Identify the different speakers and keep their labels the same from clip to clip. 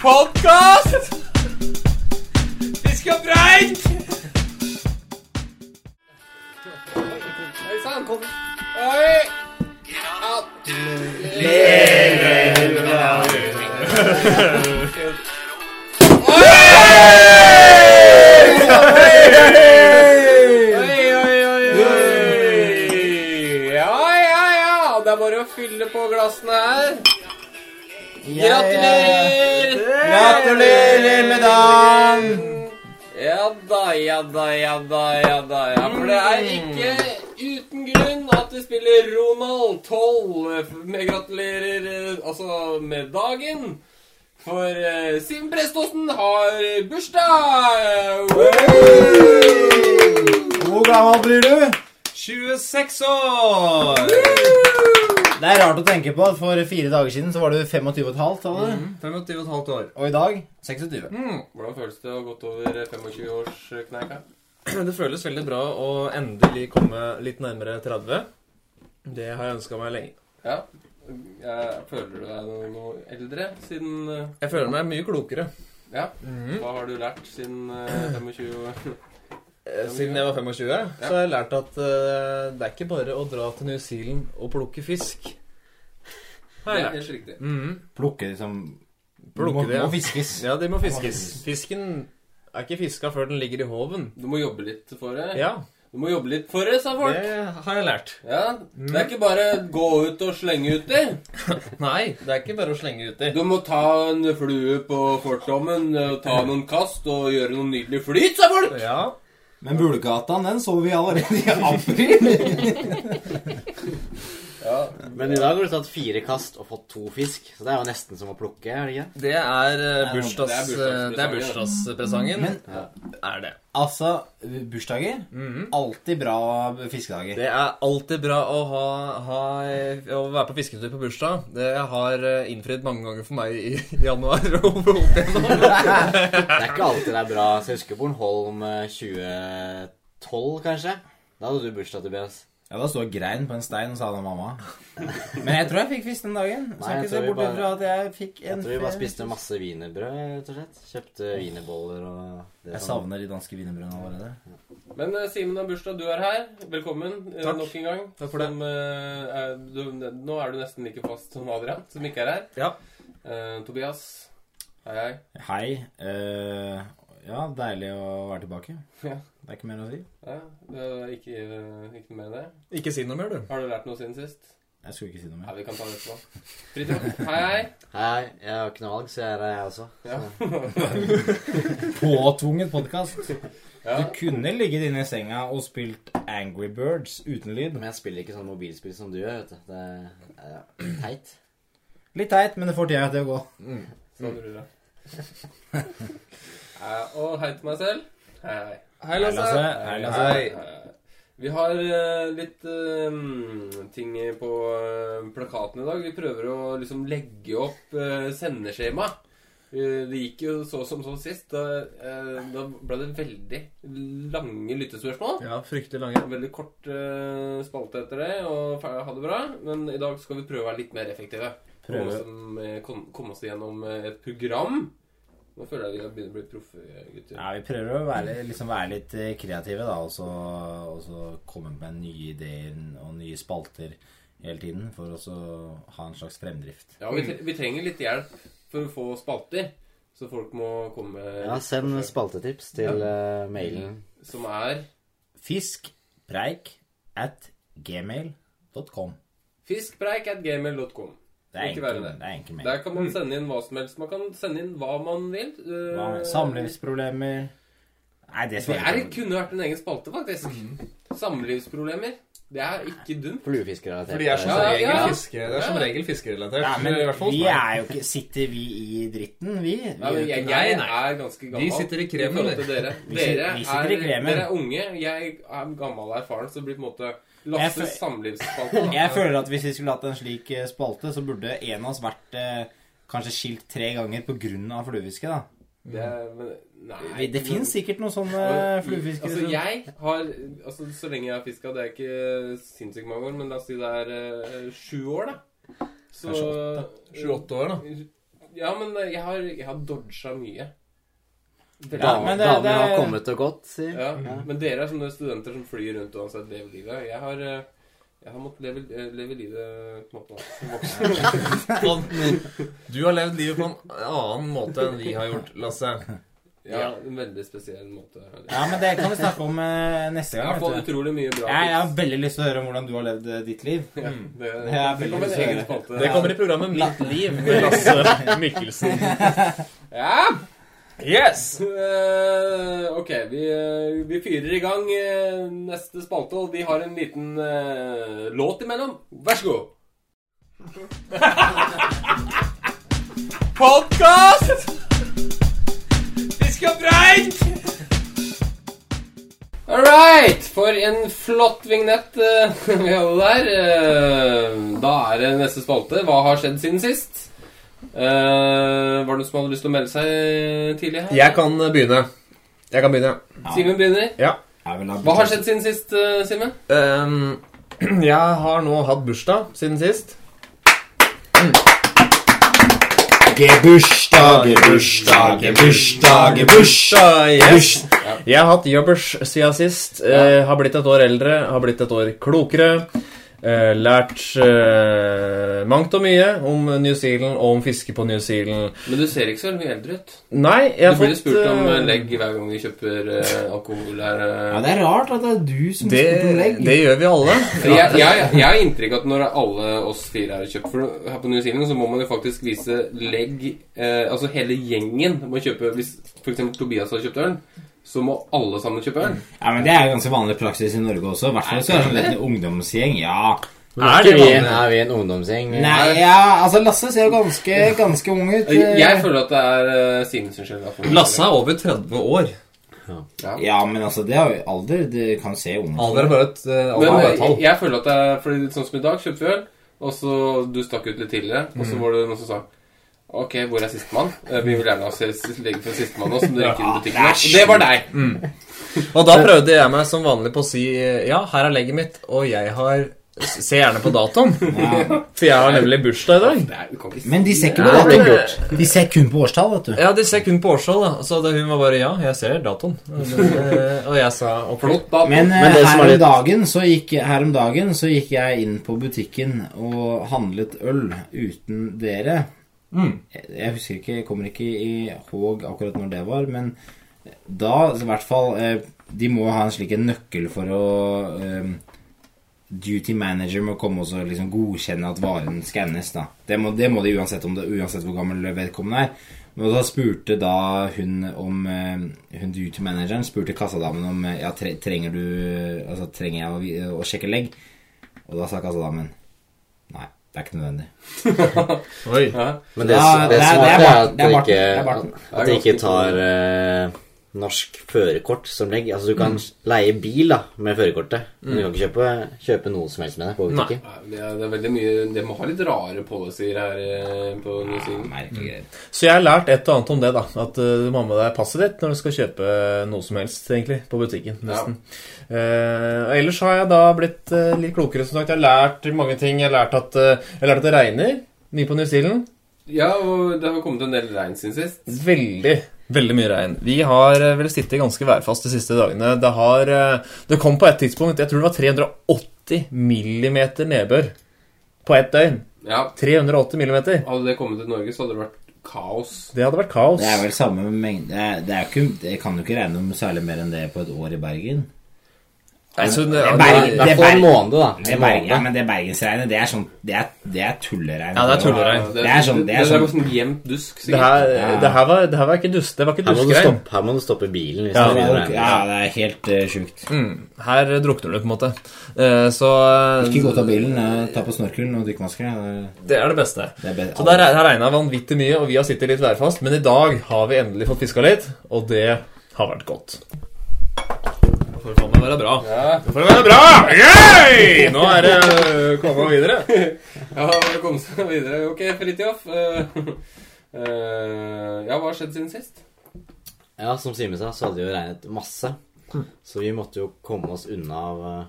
Speaker 1: Podkast! Fisk og preik!
Speaker 2: Hei sann, kom.
Speaker 1: Oi! Oi, oi, oi, oi! Ja, ja, ja! Det er bare å fylle på glassene her. Gratulerer!
Speaker 3: Gratulerer med dagen!
Speaker 1: Ja da, ja da, ja da, ja da. Ja, for det er ikke uten grunn at vi spiller Ronald 12 med gratulerer eh, Altså med dagen. For eh, Simen Preståsen har bursdag! Woo!
Speaker 3: Hvor gammel blir du?
Speaker 2: 26 år!
Speaker 3: Det er rart å tenke på at for fire dager siden så var du 25 og et halvt, sa du?
Speaker 2: 25,5 år.
Speaker 3: Og i dag 26.
Speaker 1: Hvordan føles det å ha gått over eh, 25-årskneika?
Speaker 2: Det føles veldig bra å endelig komme litt nærmere 30. Det har jeg ønska meg lenge.
Speaker 1: Ja. Jeg føler du deg noe, noe eldre siden eh,
Speaker 2: Jeg føler meg mye klokere.
Speaker 1: Ja. Hva har du lært siden eh, 25 år?
Speaker 2: Eh, Siden jeg var 25, så har jeg lært at eh, det er ikke bare å dra til New Zealand og plukke fisk.
Speaker 1: Det
Speaker 2: Har jeg
Speaker 1: er
Speaker 2: lært.
Speaker 1: helt riktig.
Speaker 2: Mhm.
Speaker 3: Plukke liksom
Speaker 2: Plukke
Speaker 3: må,
Speaker 2: det, ja.
Speaker 3: må fiskes.
Speaker 2: Ja, de må fiskes. Fisken er ikke fiska før den ligger i håven.
Speaker 1: Du må jobbe litt for det.
Speaker 2: Ja,
Speaker 1: Du må jobbe litt for det, sa folk.
Speaker 2: det har jeg lært.
Speaker 1: Ja, Det er ikke bare gå ut og slenge uti.
Speaker 2: Nei, det er ikke bare å slenge uti.
Speaker 1: Du må ta en flue på fortommen, eh, ta noen kast og gjøre noen nydelig flyt, sa folk.
Speaker 2: Ja.
Speaker 3: Men Bulgatan, den så vi allerede i april.
Speaker 1: Ja,
Speaker 4: Men i dag har du tatt fire kast og fått to fisk, så det er jo nesten som å plukke. er det ikke?
Speaker 2: Det er
Speaker 1: det
Speaker 2: eh,
Speaker 1: er
Speaker 2: bursdags,
Speaker 1: bursdagspresangen.
Speaker 2: det er bursdagspresangen. er det.
Speaker 3: altså, bursdager Alltid bra fiskedager.
Speaker 2: Det er alltid bra å, ha, ha, å være på fisketur på bursdag. Det har eh, innfridd mange ganger for meg i i januar. og opp igjennom.
Speaker 4: Det er ikke alltid det er bra. Så jeg husker Bornholm eh, 2012, kanskje. Da hadde du bursdag, Tobias.
Speaker 3: Ja, Da står grein på en stein, sa den mamma. Men jeg tror jeg fikk fisk den dagen. Så
Speaker 4: Nei,
Speaker 3: jeg
Speaker 4: jeg
Speaker 3: ikke
Speaker 4: tror
Speaker 3: se
Speaker 4: vi
Speaker 3: bort
Speaker 4: bare-
Speaker 3: ifra at jeg fikk en
Speaker 4: Jeg tror vi bare
Speaker 3: fe-
Speaker 4: spiste masse wienerbrød, rett og slett. Kjøpte wienerboller og det
Speaker 3: Jeg savner de danske wienerbrødene allerede.
Speaker 1: Men eh, Simen har bursdag, du er her. Velkommen eh,
Speaker 2: Takk.
Speaker 1: nok en gang.
Speaker 2: Takk for det.
Speaker 1: Som, eh, er- du, nå er du nesten like fast som Adrian, som ikke er her.
Speaker 2: Ja.
Speaker 1: Eh, Tobias. Hei, hei.
Speaker 3: Hei. eh, ja, deilig å være tilbake.
Speaker 1: Ja.
Speaker 3: Det er ikke mer å si.
Speaker 1: Ja, eh, ikke, eh, ikke noe mer enn det.
Speaker 2: Ikke si noe mer, du.
Speaker 1: Har du lært noe siden sist?
Speaker 3: Jeg skulle ikke si noe
Speaker 1: Ja,
Speaker 3: mer.
Speaker 1: vi kan ta det etterpå. Fridtjof, hei, hei.
Speaker 4: Hei, jeg har ikke noe valg, så jeg er her, jeg også.
Speaker 1: Ja.
Speaker 3: Påtvunget podkast.
Speaker 1: Ja.
Speaker 3: Du kunne ligget inne i senga og spilt Angry Birds uten lyd.
Speaker 4: Men jeg spiller ikke sånn mobilspill som du gjør, vet du. Det er ja, teit.
Speaker 3: Litt teit, men det får tida til å gå.
Speaker 1: Sånn ruller jeg. Eh, Og hei til meg selv. Hei, hei.
Speaker 2: Hei, Lasse.
Speaker 3: Hei, Lasse.
Speaker 1: Eh, Vi har eh, litt eh, ting på eh, plakaten i dag. Vi prøver å liksom legge opp eh, sendeskjema. Eh, Det gikk jo så som så sist. Da, eh, da ble det veldig lange lyttespørsmål.
Speaker 2: Ja, fryktelig lange.
Speaker 1: Veldig kort eh, spalte etter det, og fer- ha det bra. Men i dag skal vi prøve å være litt mer effektive. Komme
Speaker 3: Prøve.
Speaker 1: oss, eh, kom, komme oss gjennom eh, et program. Nå føler jeg vi begynner å bli proffe gutter.
Speaker 3: Ja, vi prøver å være, litt- liksom være litt eh, kreative, da, og så, og så komme med nye ideer og nye spalter hele tiden for å så ha en slags fremdrift.
Speaker 1: Ja, vi, tre- vi trenger litt hjelp for å få spalter. Så folk må komme
Speaker 4: Ja, send spaltetips til eh, mailen.
Speaker 1: Som er
Speaker 3: Fiskpreik at gmail.com.
Speaker 1: fiskpreik.gmail.com.
Speaker 3: Det er
Speaker 1: Ikke verre
Speaker 3: enkel,
Speaker 1: det.
Speaker 3: det er enkel mail.
Speaker 1: Der kan man sende inn hva som helst. Man kan sende inn hva man vil. eh,
Speaker 3: Hva med Samlivsproblemer Nei, det
Speaker 1: Det
Speaker 3: skal
Speaker 1: er,
Speaker 3: vi ikke
Speaker 1: kunne vært en egen spalte, faktisk. Samlivsproblemer. Det er ikke dumt.
Speaker 4: Fluefiskerelatert.
Speaker 2: For de er som
Speaker 1: Ja,
Speaker 2: regel,
Speaker 1: ja.
Speaker 2: fiske, det er som
Speaker 1: Ja.
Speaker 2: regel fiskerelatert.
Speaker 3: ja, men
Speaker 2: i hvert fall.
Speaker 3: vi er jo ikke Sitter vi i dritten, vi? vi
Speaker 1: Nei,
Speaker 3: er jo
Speaker 1: men
Speaker 3: ikke
Speaker 1: jeg,
Speaker 3: det.
Speaker 1: jeg
Speaker 2: Nei, nei.
Speaker 1: er ganske gammel.
Speaker 2: Vi sitter i kremen,
Speaker 1: forhold til dere.
Speaker 3: Vi sit-
Speaker 1: Dere,
Speaker 3: vi sitter i
Speaker 1: er,
Speaker 3: kremen.
Speaker 1: dere er unge. Jeg er gammel og erfaren, så det blir på en måte Lasses
Speaker 3: Jeg
Speaker 1: samlivsspalte. da.
Speaker 3: Jeg føler at hvis vi skulle hatt en slik eh, spalte, så burde en av oss vært eh, kanskje skilt tre ganger på grunn av fluefiske, da.
Speaker 1: Det, er- men- nei,
Speaker 3: Det fins sikkert noen sånne
Speaker 1: Men-
Speaker 3: fluefiskere
Speaker 1: Altså,
Speaker 3: som
Speaker 1: jeg har altså, Så lenge jeg har fiska, det er ikke sinnssykt mange år, men la oss si det er eh, sju år, da. Så
Speaker 3: Kanskje
Speaker 2: 28 år, da.
Speaker 1: Ja, men eh, jeg har, jeg har dodga mye. Veldig.
Speaker 4: Ja,
Speaker 3: men det-
Speaker 4: Damene
Speaker 3: det-
Speaker 4: har kommet og gått, sier
Speaker 1: Ja, Men dere er sånne studenter som flyr rundt og uansett lever livet. Jeg har, eh, jeg har måttet leve, eh, leve livet på en måte som voksen.
Speaker 2: Sånn, Du har levd livet på en annen måte enn vi har gjort, Lasse.
Speaker 1: Ja, en veldig spesiell måte.
Speaker 3: Ja, men det kan vi snakke om eh, neste
Speaker 1: Jeg
Speaker 3: gang.
Speaker 1: har fått
Speaker 3: Vet du.
Speaker 1: utrolig mye bra
Speaker 3: Jeg, jeg har veldig lyst til å høre om hvordan du har levd eh, ditt liv.
Speaker 1: Ja, det,
Speaker 3: Ja,
Speaker 1: det kommer en
Speaker 3: veldig
Speaker 1: egen
Speaker 3: spesiell.
Speaker 1: spalte.
Speaker 2: Det kommer i programmet Mitt liv med Lasse Mikkelsen.
Speaker 1: Ja!
Speaker 2: Yes!
Speaker 1: Eh, ok, vi, eh, vi fyrer i gang eh, neste spalte, og vi har en liten eh, låt imellom. Vær så god. Podkast! Fisk og preik! All right! For en flott vignett eh, vi hadde der. Eh, da er det neste spalte. Hva har skjedd siden sist? Eh, var det noen som hadde lyst til å melde seg tidlig her?
Speaker 2: Jeg kan begynne. Jeg kan begynne.
Speaker 1: Simen begynner.
Speaker 3: Jeg vil ha
Speaker 1: Hva har skjedd siden sist, eh, Simen?
Speaker 2: Ehm, jeg har nå hatt bursdag siden sist.
Speaker 3: Gebursdag, gebursdag, gebursdag,
Speaker 2: Bursdag, yes.
Speaker 3: gebursdag.
Speaker 2: Jeg har hatt jobbers siden sist. eh, har blitt et år eldre, har blitt et år klokere. eh, lært eh, mangt og mye om New Zealand og om fiske på New Zealand.
Speaker 1: Men du ser ikke så mye eldre ut.
Speaker 2: Nei, jeg
Speaker 1: Du
Speaker 2: har
Speaker 1: blir
Speaker 2: fått
Speaker 1: spurt om
Speaker 2: eh,
Speaker 1: legg hver gang vi kjøper eh, alkohol her. eh.
Speaker 3: Ja, det er rart at det er du som
Speaker 2: Det,
Speaker 3: spurte om legg.
Speaker 2: det gjør vi alle.
Speaker 1: jeg, jeg, jeg har inntrykk av at når alle oss fire er kjøpt for, her på New Zealand, så må man jo faktisk vise legg eh, Altså hele gjengen må kjøpe Hvis f.eks. Tobias har kjøpt øl, så må alle sammen kjøpe øl.
Speaker 3: Ja, men Det er jo ganske vanlig praksis i Norge også. I hvert fall så er det sånn en ungdomsgjeng. Ja.
Speaker 2: Er
Speaker 4: Er
Speaker 2: det
Speaker 4: vi, en,
Speaker 2: vanlig?
Speaker 4: er vi en ungdomsgjeng?
Speaker 3: Nei, ja, altså Lasse ser jo ganske, ganske ung ut.
Speaker 1: Jeg føler at det er eh, Simen sin skyld. at-
Speaker 2: Lasse er over 30 år.
Speaker 3: Ja, men altså, det er jo alder. Det kan se ung ut.
Speaker 2: Alder er bare et, eh, alder
Speaker 1: Men
Speaker 2: er bare et
Speaker 1: jeg,
Speaker 2: tall.
Speaker 1: jeg føler at det er Fordi sånn som i dag, kjøpte vi øl, og så du stakk ut litt tidligere, og
Speaker 3: Mm.
Speaker 1: så var det noen som sa Ok, hvor er sistemann? Eh, Vi vil gjerne ha ses- legge for sistemann også, som dere ikke i butikken. nå." Og det var deg!
Speaker 2: Og da prøvde jeg meg som vanlig på å si eh, ja, her er legget mitt, og jeg har Se gjerne på datoen. For jeg har nemlig bursdag i dag.
Speaker 1: Nei, du kan ikke si
Speaker 3: Men de ser ikke
Speaker 4: Nei,
Speaker 3: på
Speaker 4: det blir
Speaker 3: dato.
Speaker 4: kult.
Speaker 3: De ser kun på årstall, vet du.
Speaker 2: Ja, de ser kun på årshold, da. Så det, hun var bare Ja, jeg ser datoen. Eh, Og jeg sa ok.
Speaker 1: flott, da.
Speaker 3: Men, eh,
Speaker 4: Men det
Speaker 3: her,
Speaker 4: som er
Speaker 3: om
Speaker 4: litt-
Speaker 3: dagen, så gikk, her om dagen så gikk jeg inn på butikken og handlet øl uten dere. Jeg, jeg husker ikke, jeg kommer ikke i håg akkurat når det var, men da så i hvert fall eh, De må ha en slik en nøkkel for å eh, Duty manager må komme og så liksom godkjenne at varen skannes. da. Det må, det må de uansett om det, uansett hvor gammel vedkommende er. Men da spurte da hun om eh, Hun duty manageren spurte kassadamen om eh, ja, tre, trenger du eh, Altså trenger jeg å, vi- å sjekke legg. Og da sa kassadamen nei, det er ikke nødvendig.
Speaker 2: Oi.
Speaker 4: Men det,
Speaker 3: Ja,
Speaker 4: det,
Speaker 3: det er-
Speaker 4: som
Speaker 3: det
Speaker 4: er,
Speaker 3: er
Speaker 4: det er
Speaker 3: Barten,
Speaker 4: at
Speaker 3: det er
Speaker 4: det
Speaker 3: Barten,
Speaker 4: ikke,
Speaker 3: det er Barten.
Speaker 4: at det ikke tar eh, norsk førerkort som legg. Altså, du kan
Speaker 3: Mm.
Speaker 4: leie bil da, med førerkortet, men du kan ikke kjøpe, kjøpe noe som helst med det på butikken.
Speaker 1: Nei, Det er, det er veldig mye Det må ha litt rare policies her eh, på New
Speaker 3: Ah,
Speaker 1: Zealand.
Speaker 3: Merkegreier.
Speaker 2: Så jeg har lært et og annet om det, da. At eh, du må ha med deg passet ditt når du skal kjøpe noe som helst, egentlig. På butikken, nesten. Eh, og ellers har jeg da blitt eh, litt klokere, som sagt. Jeg har lært mange ting. Jeg har lært at, eh, jeg har lært at det regner mye på New Zealand.
Speaker 1: Ja, og det har kommet en del regn siden sist.
Speaker 2: Veldig, veldig mye regn. Vi har eh, vel sittet ganske værfast de siste dagene. Det har eh, Det kom på et tidspunkt, jeg tror det var 380 millimeter nedbør på ett døgn.
Speaker 1: Ja,
Speaker 2: 380 millimeter.
Speaker 1: Hadde det kommet til Norge, så hadde det vært kaos.
Speaker 2: Det hadde vært kaos.
Speaker 3: Det er vel samme mengde Det, er- det, er jo ikke, det kan jo ikke regne om særlig mer enn det på et år i Bergen.
Speaker 2: Nei, så det,
Speaker 3: Det er
Speaker 2: det-
Speaker 3: bare-
Speaker 4: I hvert fall en måned, da.
Speaker 3: Det er
Speaker 4: En
Speaker 3: Bergen, ja,
Speaker 4: måned.
Speaker 3: men det bergensregnet, det er sånn Det er, det er tulleregn.
Speaker 2: Ja, det er tulleregn.
Speaker 1: Ja,
Speaker 3: Det er sånn- det er
Speaker 1: det
Speaker 3: sånn-
Speaker 1: bare sånn jevnt dusk,
Speaker 2: det,
Speaker 1: sikkert.
Speaker 2: her, det, her var, det her var ikke dust, det var ikke
Speaker 4: Her må, du
Speaker 2: duskregn.
Speaker 4: stoppe, her må du stoppe bilen hvis
Speaker 2: Ja,
Speaker 4: det begynner å regne.
Speaker 3: Ja, det er helt uh, sjukt.
Speaker 2: Mm, her drukner du, på en måte. Eh, Så eh,
Speaker 3: Ikke gå ut av bilen, eh, ta på snorkelen og dykkemaske.
Speaker 2: det er det beste.
Speaker 3: Det er bedre.
Speaker 2: Så der har regna vanvittig mye, og vi har sittet litt værfast, men i dag har vi endelig fått fiska litt, og det har vært godt. Nå får det faen meg være bra.
Speaker 1: Ja.
Speaker 2: Nå får det være bra! Yay! Nå er det øh, komme videre.
Speaker 1: Ja, vi kom oss videre. Ok, Fridtjof. eh, eh, ja, hva har skjedd siden sist?
Speaker 4: Ja, som Simen sa, så hadde det jo regnet masse.
Speaker 3: Mm.
Speaker 4: Så vi måtte jo komme oss unna av eh,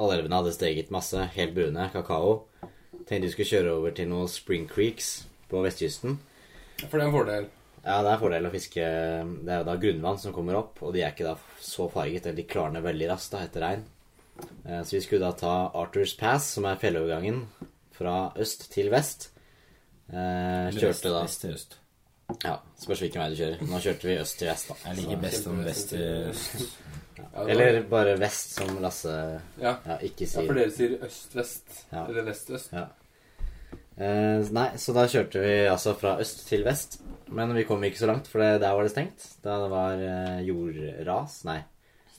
Speaker 4: Alle elvene hadde steget masse. Helt brune. Kakao. Tenkte vi skulle kjøre over til noen Spring Creeks på vestkysten.
Speaker 1: For det er en fordel.
Speaker 4: Ja, det er fordel å fiske Det er jo da grunnvann som kommer opp, og de er ikke da så farget, eller de klarner veldig raskt da etter regn. Eh, Så vi skulle da ta Arthurs Pass, som er fjellovergangen fra øst til vest. Eh, Kjørte da
Speaker 3: Vest til øst.
Speaker 4: Ja, spørs hvilken vei du kjører. Nå kjørte vi øst til vest, da.
Speaker 3: Jeg liker best om vest til øst.
Speaker 1: Ja, det var-
Speaker 4: Eller bare vest, som Lasse
Speaker 1: ja.
Speaker 4: ja, ikke
Speaker 1: ja, for
Speaker 4: sier.
Speaker 1: dere sier øst-vest.
Speaker 4: Ja.
Speaker 1: Eller vest-øst.
Speaker 4: Ja. Eh, nei, så da kjørte vi altså fra øst til vest. Men vi kom ikke så langt, for det, der var det stengt. Da det var eh, jordras Nei,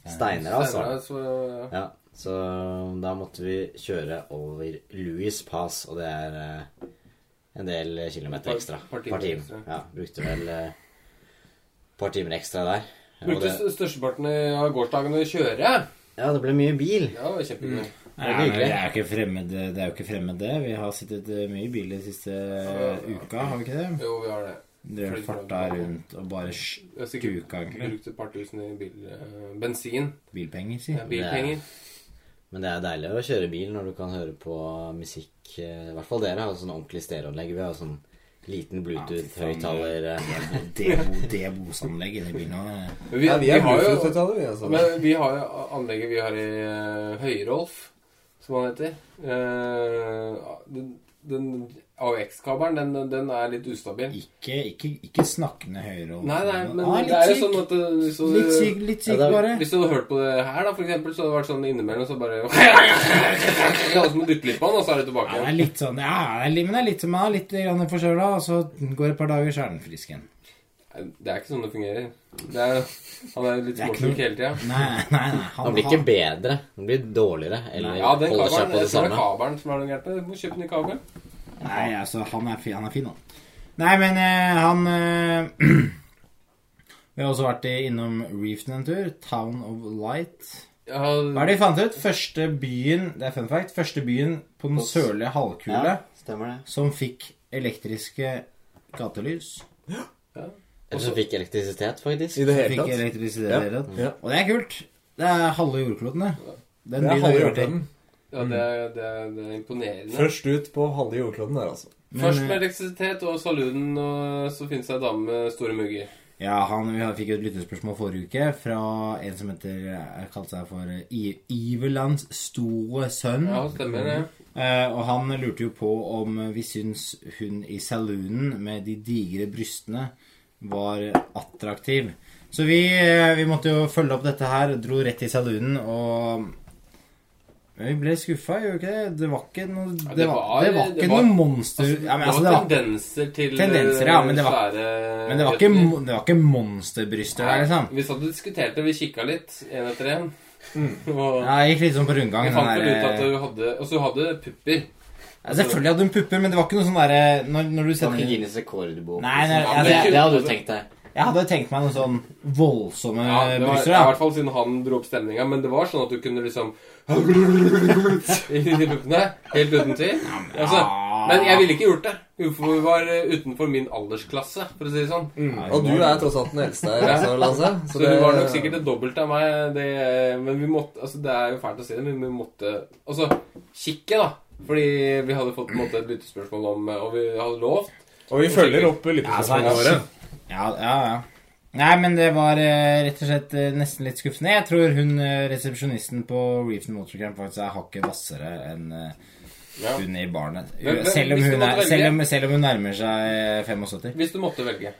Speaker 4: steinras. var det.
Speaker 1: Senere,
Speaker 4: altså-
Speaker 1: så, ja.
Speaker 4: Ja, så da måtte vi kjøre over Louis Pass, og det er eh, en del kilometer
Speaker 1: Par-
Speaker 4: ekstra.
Speaker 1: par timer ekstra.
Speaker 4: Ja, brukte vel eh, et par timer ekstra der. Og
Speaker 1: Brukte
Speaker 4: det,
Speaker 1: st- størsteparten av gårsdagen å kjøre.
Speaker 4: ja, det ble mye bil.
Speaker 1: Ja, det var
Speaker 4: Mm.
Speaker 1: kjempegøy.
Speaker 3: Nei,
Speaker 4: Det er
Speaker 3: men
Speaker 4: hyggelig.
Speaker 3: det er jo ikke fremmed Det er jo ikke fremmed det. Vi har sittet eh, mye i bil de siste eh, uka, har vi ikke det?
Speaker 1: Jo, vi har det.
Speaker 3: Drevet farta rundt og bare
Speaker 1: Vi har sikkert
Speaker 3: stuka, egentlig.
Speaker 1: brukt et par tusen i bil, eh, bensin.
Speaker 3: Bilpenger, si.
Speaker 1: Ja, bilpenger.
Speaker 4: Men det er deilig å kjøre bil når du kan høre på musikk. eh, I hvert fall dere har jo sånn ordentlig stereoanlegg. Vi har jo sånn liten Bluetooth-høyttaler. eh.
Speaker 3: Debo- Debos-anlegg inni bilen eh. òg.
Speaker 1: Men vi,
Speaker 2: Ja,
Speaker 1: vi har jo
Speaker 2: Bluetooth-høyttalere, vi, altså.
Speaker 1: Men vi har jo anlegget vi har i eh, Høyrolf, som han heter. Eh, den den AUX-kabelen, den, den- den er litt ustabil.
Speaker 3: Ikke, ikke, ikke snakkende høyere og
Speaker 1: Nei, nei, men
Speaker 3: Ah,
Speaker 1: det er jo
Speaker 3: litt
Speaker 1: sånn
Speaker 3: syk.
Speaker 1: at eh, hvis du,
Speaker 3: Litt syk, litt syk,
Speaker 4: Ja, det er-
Speaker 3: bare.
Speaker 1: hvis du hadde hørt på det her, da, for eksempel, så hadde det vært sånn innimellom så bare Ja, så må du dyppe litt på den, og så er du tilbake
Speaker 3: Ja, det er
Speaker 1: igjen.
Speaker 3: litt sånn, ja, det er litt, men det er litt som jeg er litt grann forkjøla, og så går det et par dager, så er den frisk igjen.
Speaker 1: Nei, Det er ikke sånn det fungerer. Det er, han er litt
Speaker 3: Det er ikke
Speaker 1: småsjuk
Speaker 3: noe-
Speaker 1: hele tida.
Speaker 3: Nei, nei, nei.
Speaker 4: Den blir ikke bedre. Den blir dårligere. Eller
Speaker 1: Ja, den
Speaker 4: holder seg
Speaker 1: kabelen,
Speaker 4: på
Speaker 1: jeg tror det
Speaker 4: det
Speaker 1: er
Speaker 4: samme.
Speaker 1: kabelen som er noe gærent med. Du må kjøpe ny kabel.
Speaker 3: Nei, altså, han er fin, han. Er fin, han. Nei, men eh, han eh, Vi har også vært i- innom Reefton en tur. Town of Light.
Speaker 1: Ja,
Speaker 3: Hva er det vi fant ut? Første byen Det er fun fact. Første byen på den sørlige halvkule
Speaker 4: Ja, stemmer det.
Speaker 3: som fikk elektriske gatelys.
Speaker 4: Eller som fikk elektrisitet, faktisk.
Speaker 2: I det
Speaker 3: Som
Speaker 2: hele
Speaker 3: fikk
Speaker 2: tatt.
Speaker 3: elektrisitet.
Speaker 2: Ja.
Speaker 3: i det hele tatt.
Speaker 2: Ja.
Speaker 3: Og det er kult. Det er halve jordkloden, det. Den
Speaker 2: Det er
Speaker 3: byen har
Speaker 2: halve
Speaker 3: vi vært i.
Speaker 2: jordkloden.
Speaker 1: ja det, er, det, er, det er imponerende.
Speaker 2: Først ut på halve jordkloden der, altså.
Speaker 3: Men,
Speaker 1: Først
Speaker 3: eh,
Speaker 1: med elektrisitet og saluden, og så finnes det ei dame med store mugger.
Speaker 3: Ja, han, vi har- fikk jo et lyttespørsmål forrige uke fra en som heter, eh, kalte seg for eh, I- Iverlands store sønn.
Speaker 1: Ja, stemmer det.
Speaker 3: Eh, og han lurte jo på om vi syns hun i saloonen med de digre brystene var attraktiv. Så vi, eh, vi måtte jo følge opp dette her, dro rett i saloonen og men vi ble skuffa, gjorde vi ikke det? Det var ikke noe
Speaker 1: det
Speaker 3: Det var,
Speaker 1: var-
Speaker 3: det var ikke
Speaker 1: det var-
Speaker 3: noe monster...
Speaker 1: Altså,
Speaker 3: ja, men, altså,
Speaker 1: det
Speaker 3: det
Speaker 1: var
Speaker 3: var,
Speaker 1: tendenser til
Speaker 3: Tendenser, ja, men det var-
Speaker 1: svære
Speaker 3: men det var ikke,
Speaker 1: gutter.
Speaker 3: mo- det var ikke monsterbryster der, liksom.
Speaker 1: Vi satt og diskuterte, vi kikka litt, én etter én. Og
Speaker 3: Mm. Ja, jeg gikk litt sånn på rundgang.
Speaker 1: vi
Speaker 3: den
Speaker 1: fant vel
Speaker 3: der,
Speaker 1: ut at du hadde Og så hadde du pupper.
Speaker 3: ja, selvfølgelig hadde hun pupper, men det var ikke noe sånn derre når, når du
Speaker 4: Det var ikke
Speaker 3: sender
Speaker 4: Guinness rekordbok.
Speaker 3: Nei, nei, altså,
Speaker 4: liksom.
Speaker 1: ja, det-
Speaker 4: det hadde du tenkt deg.
Speaker 3: Jeg hadde tenkt meg noen sånn voldsomme
Speaker 1: Ja, det var,
Speaker 3: bryster.
Speaker 1: I
Speaker 3: da.
Speaker 1: hvert fall siden han dro opp stemninga, men det var sånn at du kunne liksom I de puppene. Helt uten tvil. Altså, men jeg ville ikke gjort det. Hun var eh, utenfor min aldersklasse, for å si det sånn.
Speaker 5: Og du er tross alt den eldste her, altså, Lasse.
Speaker 1: Så det var nok sikkert det dobbelte av meg. Det, men vi måtte Altså, det er jo fælt å si det, men vi måtte Altså, kikke, da. Fordi vi hadde fått på en måte et lyttespørsmål om eh, Og vi hadde lovt.
Speaker 2: Og vi følger opp
Speaker 3: Ja,
Speaker 2: lyttespørsmålene
Speaker 3: så
Speaker 2: våre.
Speaker 3: er det- Ja, ja, ja. Nei, men det var eh, rett og slett eh, nesten litt skuffende. Jeg tror hun eh, resepsjonisten på Reefton Motorcamp faktisk er hakket hvassere enn eh,
Speaker 1: Ja.
Speaker 3: hun i barnet.
Speaker 1: Men- men
Speaker 3: Selv om
Speaker 1: hvis du
Speaker 3: hun,
Speaker 1: måtte
Speaker 3: er,
Speaker 1: velge-
Speaker 3: selv om, selv om hun nærmer seg eh, 75.
Speaker 1: Hvis du måtte velge,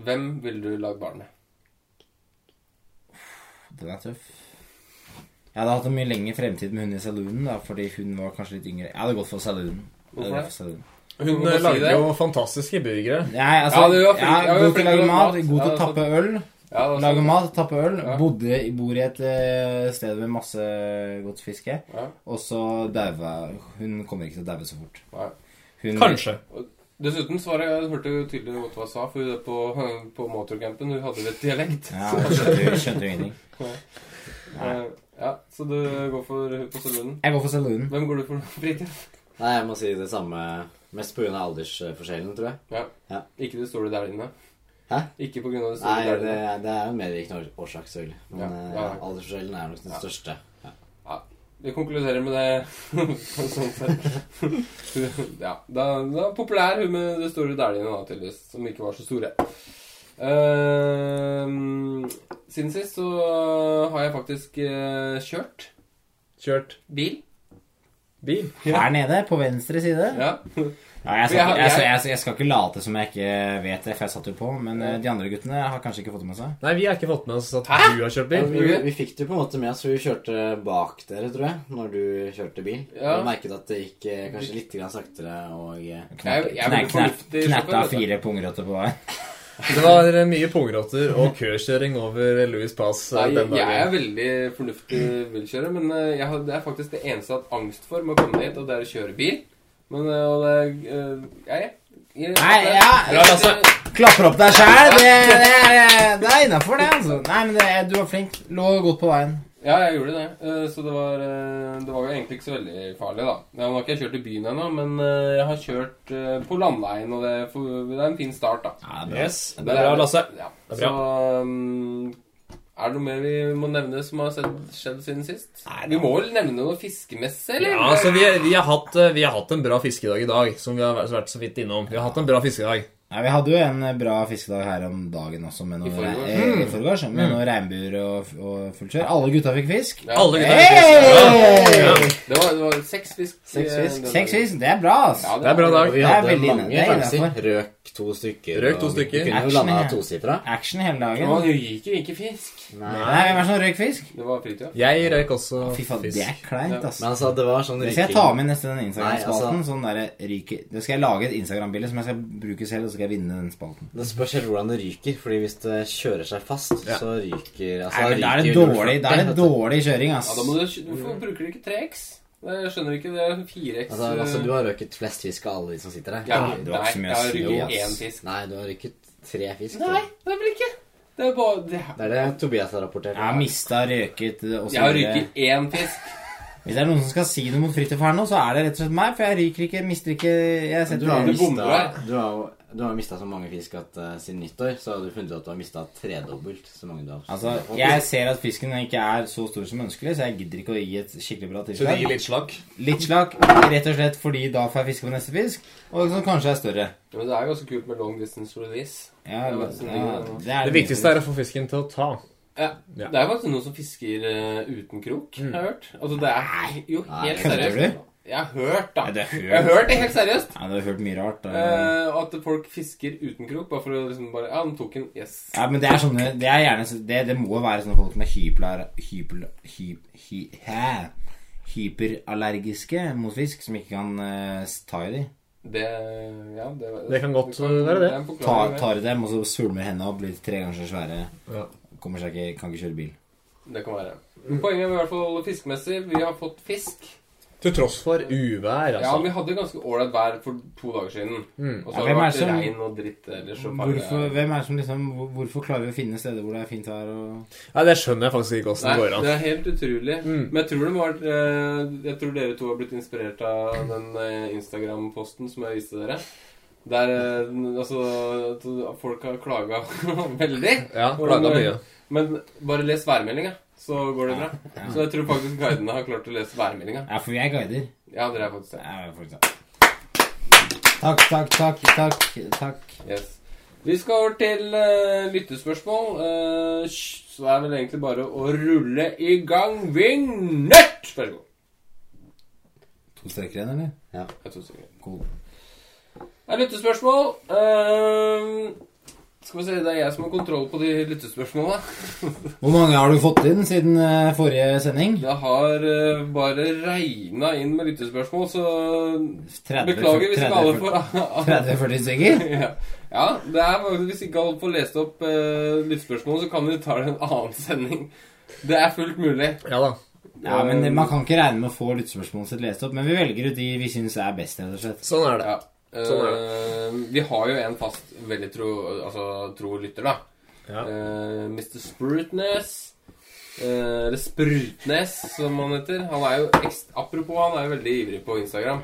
Speaker 1: hvem ville du lagd barn med?
Speaker 3: Den er tøff. Jeg hadde hatt en mye lengre fremtid med hun i saloonen, da, fordi hun var kanskje litt yngre. Jeg hadde gått for saloonen. Jeg hadde
Speaker 1: Hvorfor
Speaker 3: gått for saloonen.
Speaker 1: Hun eh,
Speaker 2: Hun øh, lager jo fantastiske burgere.
Speaker 3: Nei, altså,
Speaker 1: Ja, du var flink-
Speaker 3: jeg
Speaker 1: ja, du
Speaker 3: er
Speaker 1: var
Speaker 3: god til å
Speaker 1: flink
Speaker 3: lage
Speaker 1: til å lage
Speaker 3: mat,
Speaker 1: mat.
Speaker 3: god
Speaker 1: Ja,
Speaker 3: til å
Speaker 1: det er
Speaker 3: tappe øl.
Speaker 1: Ja, det var
Speaker 3: Lage
Speaker 1: sånn.
Speaker 3: mat, tappe øl.
Speaker 1: Ja.
Speaker 3: Bodde, bor i et eh, sted med masse godt fiske.
Speaker 1: Ja.
Speaker 3: Og så daua Hun kommer ikke til å daue så fort.
Speaker 1: Nei.
Speaker 3: Hun,
Speaker 2: Kanskje.
Speaker 1: Dessuten så var det, jeg hørte jo tydelig godt hva hun sa, for hun er på, på motorcampen hun hadde litt dialekt.
Speaker 3: Ja, hun skjønte, hun skjønte jo ingenting.
Speaker 1: Eh, ja, Så du går for hun på saloonen.
Speaker 3: Jeg går for saloonen.
Speaker 1: Hvem går du for, Fritid?
Speaker 4: Nei, jeg må si det samme. Mest på grunn av aldersforskjellen, tror jeg.
Speaker 1: Ja.
Speaker 4: Ja.
Speaker 1: Ikke det store der inne.
Speaker 4: Hæ?
Speaker 1: Ikke på grunn av det store
Speaker 4: Nei,
Speaker 1: der
Speaker 4: det,
Speaker 1: inne.
Speaker 4: det er en medvirkende årsak, selvfølgelig. Men
Speaker 1: Ja,
Speaker 4: eh,
Speaker 1: ja.
Speaker 4: aldersforskjellen er nok den
Speaker 1: Ja.
Speaker 4: største.
Speaker 1: Vi konkluderer med det. sånn sett. ja. Da, da er populær hun med de store dæljene, da, tydeligvis. Som ikke var så store. Ehm, siden sist så har jeg faktisk eh, kjørt
Speaker 2: Kjørt
Speaker 1: bil.
Speaker 2: bil.
Speaker 3: Her nede, på venstre side.
Speaker 1: Ja.
Speaker 3: Ja, jeg,
Speaker 1: For jeg
Speaker 3: skal,
Speaker 1: har-
Speaker 3: jeg, jeg,
Speaker 1: jeg-
Speaker 3: jeg, jeg skal ikke late som jeg ikke vet det, for jeg satt jo på. Men eh, de andre guttene har kanskje ikke fått det med seg.
Speaker 2: Nei, vi har ikke fått med oss at
Speaker 1: Hæ?
Speaker 2: du har kjørt
Speaker 4: Ja,
Speaker 2: bil.
Speaker 4: vi, vi fikk det jo på en måte med oss, for vi kjørte bak dere, tror jeg, når du kjørte bil.
Speaker 1: Ja.
Speaker 4: Og merket at det gikk eh, kanskje litt grann saktere, og eh,
Speaker 1: Jeg, jeg
Speaker 3: Kne-
Speaker 1: blir
Speaker 3: kne-
Speaker 1: fornuftig.
Speaker 3: Knerta
Speaker 1: sjåfør, vet du.
Speaker 3: fire pungrotter på vei.
Speaker 2: Det var eh, mye pungråter og køkjøring over Louis Pass eh,
Speaker 1: Nei,
Speaker 2: den
Speaker 1: jeg er
Speaker 2: dagen.
Speaker 1: veldig fornuftig bilkjører, men eh, jeg har, det er faktisk det eneste jeg har hatt angst for med å komme hit, og det er å kjøre bil. Men eh, og det eh, jeg, jeg,
Speaker 3: Nei, ja.
Speaker 1: Bra,
Speaker 2: altså.
Speaker 1: Lasse.
Speaker 3: Klapper opp deg sjæl! Det, det, er- det er innafor, det. altså Nei, men det, Du var flink. Lå godt på veien.
Speaker 1: Ja, jeg gjorde det. Eh, Så det var, eh, det var jo egentlig ikke så veldig farlig, da. Nå har ikke jeg kjørt i byen ennå, men eh, jeg har kjørt eh, på landveien, og det, er for- det er en fin start, da.
Speaker 3: Ja, det er bra.
Speaker 2: Yes, det er bra, Lasse.
Speaker 1: Ja.
Speaker 2: Det
Speaker 1: Så
Speaker 2: er bra.
Speaker 1: um, er det noe mer vi må nevne som har sett, skjedd siden sist?
Speaker 3: Nei,
Speaker 1: vi må vel nevne noe fiskemesse, eller?
Speaker 2: Ja, altså, vi, vi, har hatt, eh, vi har hatt en bra fiskedag i dag, som vi har vært- vært så vidt innom. Vi har hatt en bra fiskedag.
Speaker 3: Nei, vi hadde jo en eh, bra fiskedag her om dagen også, med
Speaker 1: I
Speaker 3: noen
Speaker 1: forgårs.
Speaker 3: re- eh, i forgårs, med noen regnbuer og, og fullt kjør. Alle gutta fikk fisk.
Speaker 1: Ja.
Speaker 2: Alle gutta fikk fisk. Ja.
Speaker 3: Hey!
Speaker 2: Ja.
Speaker 1: Det var, det var seks fisk.
Speaker 4: Seks
Speaker 1: eh,
Speaker 4: fisk.
Speaker 1: den
Speaker 3: Seks
Speaker 1: dagen.
Speaker 3: fisk, det er bra, ass.
Speaker 1: Ja,
Speaker 2: Det er bra dag.
Speaker 4: og vi
Speaker 3: Det er
Speaker 4: hadde
Speaker 3: veldig inne- det
Speaker 4: mange
Speaker 3: er
Speaker 4: sjanser.
Speaker 3: innenfor.
Speaker 4: Røk to stykker.
Speaker 2: Røk to
Speaker 4: og
Speaker 2: stykker.
Speaker 4: Vi kunne jo
Speaker 3: Action,
Speaker 4: landa
Speaker 3: ja.
Speaker 4: tosifra.
Speaker 3: Action hele
Speaker 1: Det
Speaker 3: dagen.
Speaker 1: var- det gikk jo ikke fisk.
Speaker 4: Men
Speaker 3: Nei, hvem er det som røyk fisk?
Speaker 1: Det var fritida.
Speaker 2: Jeg røyk også
Speaker 3: Fy faen, det er
Speaker 2: fisk.
Speaker 3: kleint, ass.
Speaker 4: altså, det var sånn
Speaker 3: Det skal jeg ta med neste den Instagram-spalten.
Speaker 4: Nei,
Speaker 3: Sånn derre ryker Det skal jeg lage et Instagram-bilde som jeg skal bruke selv, og så skal jeg vinne den spalten.
Speaker 4: Det spørs helt hvordan det ryker, fordi hvis det kjører seg fast,
Speaker 2: Ja.
Speaker 4: så ryker altså,
Speaker 3: Nei, men Da er det
Speaker 4: ryker Altså, jo
Speaker 3: dårlig, da er det
Speaker 4: vet du.
Speaker 3: dårlig kjøring, ass.
Speaker 1: Ja, da må du, hvorfor bruker du ikke 3X? Jeg skjønner ikke. Det er 4X.
Speaker 4: Altså, altså,
Speaker 1: eh,
Speaker 4: du har røket flest fisk av alle de som sitter her.
Speaker 1: ja,
Speaker 3: Nei, det var ikke så mye
Speaker 1: nei, jeg
Speaker 3: å si,
Speaker 1: har rykket
Speaker 3: ass.
Speaker 1: én fisk.
Speaker 4: Nei, du har røket tre fisk.
Speaker 1: Nei, det er vel ikke Det er bare det er,
Speaker 4: Det er det Tobias har rapportert.
Speaker 3: Jeg har mista, røket og så
Speaker 1: Jeg har
Speaker 3: videre.
Speaker 1: rykket én fisk.
Speaker 3: Hvis det er noen som skal si noe mot Fridtjof her nå, så er det rett og slett meg, for jeg ryker ikke, mister ikke Jeg
Speaker 4: Du
Speaker 3: setter
Speaker 4: har
Speaker 1: Du
Speaker 4: mistet-
Speaker 1: bommer her.
Speaker 4: du har jo- du har mista så mange fisk at eh, siden nyttår så har du funnet ut at du har mista tredobbelt så mange du har.
Speaker 3: Altså, jeg ser at fisken ikke er så stor som ønskelig, så jeg gidder ikke å gi et skikkelig bra
Speaker 2: Så det gir
Speaker 3: tilslag.
Speaker 2: litt slakk.
Speaker 3: Litt slakk, rett og slett fordi da får jeg fiske på neste fisk, og som kanskje er større.
Speaker 1: Ja, Men det er ganske kult med long distance release. Det
Speaker 3: Ja, ja,
Speaker 1: var-
Speaker 3: det, er
Speaker 2: Det viktigste er å få fisken til å ta.
Speaker 1: Ja.
Speaker 2: Ja.
Speaker 1: Det er faktisk noen som fisker eh, uten krok, har jeg hørt. Altså, det er jo helt
Speaker 3: kødder
Speaker 1: seriøst.
Speaker 3: du?
Speaker 1: Jeg har hørt,
Speaker 3: Nei,
Speaker 1: da.
Speaker 3: det er
Speaker 1: Jeg har
Speaker 3: hørt.
Speaker 1: hørt det helt seriøst.
Speaker 3: Ja, du har hørt mye rart. da.
Speaker 1: Eh, at folk fisker uten krok, bare for å liksom bare Ja, han tok en. Yes.
Speaker 3: Ja, men det er sånne Det, er gjerne, så- det, det må være sånne folk som er hypelar- hypel- hy- hy- hæ? hyperallergiske mot fisk, som ikke kan eh, ta i dem.
Speaker 1: Det Ja, det,
Speaker 2: Det kan godt
Speaker 1: kan-
Speaker 2: være det.
Speaker 1: er en forklaring,
Speaker 3: Tar,
Speaker 1: det.
Speaker 3: tar i dem, og så svulmer hendene opp, blir tre ganger så svære.
Speaker 2: Ja.
Speaker 3: Kommer seg ikke, kan ikke kjøre bil.
Speaker 1: Det kan være. Poenget er i hvert fall fiskemessig. Vi har fått fisk.
Speaker 2: Til tross for uvær,
Speaker 1: Ja,
Speaker 2: altså.
Speaker 1: vi hadde ganske ålreit vær for to dager siden.
Speaker 2: Mm.
Speaker 1: Og så
Speaker 3: Ja,
Speaker 1: har det
Speaker 3: hvem er
Speaker 1: vært
Speaker 3: det som-
Speaker 1: regn og dritt ellers. og bare-
Speaker 3: Hvorfor, hvem er det som liksom hvor- Hvorfor klarer vi å finne steder hvor det er fint vær og
Speaker 2: Nei, det skjønner jeg faktisk ikke åssen det går
Speaker 1: Nei,
Speaker 2: an.
Speaker 1: det er helt utrolig.
Speaker 2: Mm.
Speaker 1: Men jeg tror, det må ha vært, eh, jeg tror dere to har blitt inspirert av den eh, Instagram-posten som jeg viste dere. Der eh, altså at Folk har klaga veldig.
Speaker 2: Ja, klaga mye.
Speaker 1: Men bare les værmeldinga, så går det bra. Så jeg tror faktisk guidene har klart å lese værmeldinga.
Speaker 3: Ja, for vi er guider.
Speaker 1: Ja, dere er faktisk det.
Speaker 3: Ja, for eksempel. Takk, takk, takk, takk. takk.
Speaker 1: Yes. Vi skal over til eh, lyttespørsmål. Eh, sj, så det er vel egentlig bare å rulle i gang vignett! Vær så god.
Speaker 3: To streker igjen, eller?
Speaker 1: Jeg tror sikkert.
Speaker 3: Cool.
Speaker 1: Det er lyttespørsmål. Ehm, skal vi se, det er jeg som har kontroll på de lyttespørsmåla.
Speaker 3: Hvor mange har du fått inn siden eh, forrige sending?
Speaker 1: Det har eh, bare regna inn med lyttespørsmål, så
Speaker 3: 30,
Speaker 1: beklager hvis ikke alle får
Speaker 3: 30-40 stykker?
Speaker 1: ja. ja, det er bare hvis ikke alle får lest opp uh, lyttespørsmål, så kan vi ta det i en annen sending. Det er fullt mulig.
Speaker 2: Ja da.
Speaker 3: Ja,
Speaker 5: Eh.
Speaker 3: men man kan ikke regne med å få lyttespørsmålet sitt lest opp, men vi velger ut de vi syns er best, rett og slett.
Speaker 2: Sånn er det.
Speaker 1: Ja.
Speaker 2: Sånn er
Speaker 1: Ehm, vi har jo en fast veldig tro, altså, tro lytter, da.
Speaker 2: Ja.
Speaker 1: Eh, Mr. Sprutnes. eh, eller Sprutnes, som han heter. Han er jo ekst Apropos, han er jo veldig ivrig på Instagram.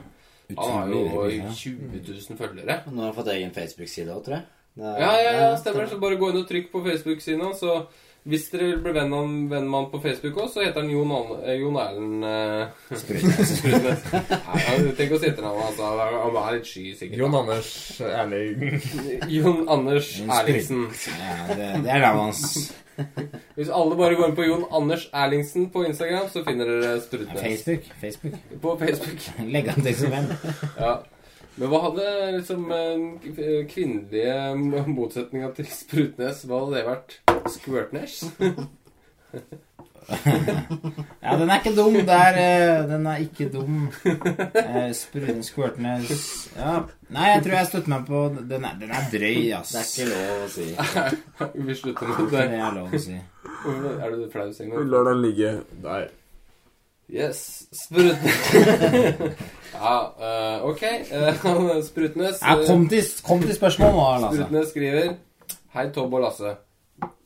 Speaker 1: Han har
Speaker 3: Utrolig
Speaker 1: jo
Speaker 3: ivrig, ja.
Speaker 1: 20 000 følgere.
Speaker 4: Nå har han fått egen Facebook-side òg, tror jeg. Det er-
Speaker 1: Ja, ja, ja, stemmer. Så bare gå inn og trykk på Facebook-siden hans, så Hvis dere vil bli venn med venn med han på Facebook også, så heter han Jon, An eh, Jon Erlend eh, Skrutnes. Nei, han- Tenk å si etternavnet, altså. Han- Han er litt sky, sikkert.
Speaker 2: Jon Anders Erling
Speaker 1: Jon Anders
Speaker 3: Jon Skrut-
Speaker 1: Erlingsen.
Speaker 3: Ja, det, det er navnet hans.
Speaker 1: Hvis alle bare går inn på Jon Anders Erlingsen på Instagram, så finner dere Strutnes.
Speaker 3: Facebook. Facebook.
Speaker 1: På Facebook.
Speaker 3: Legg han til som venn.
Speaker 1: Ja. Men hva hadde liksom den kvinnelige motsetninga til Sprutnes? Hva hadde det vært? Squirtnes?
Speaker 3: Ja, den er ikke dum. Det er, eh, den er ikke dum. Eh, Sprudende skvørtende s- ja. Nei, jeg tror jeg støtter meg på Den er, den er drøy, ass.
Speaker 5: Det er ikke lov å si.
Speaker 1: Vi slutter med
Speaker 3: Det
Speaker 1: det.
Speaker 3: er lov å si.
Speaker 1: Er du flau, Signe?
Speaker 2: lar den ligge der.
Speaker 1: Yes. Sprutnes. ja, eh, ok. eh, han Sprutnes
Speaker 3: Ja,
Speaker 1: eh,
Speaker 3: kom til, kom til spørsmål nå, Lasse.
Speaker 1: Sprutnes skriver Hei, Tobb og Lasse.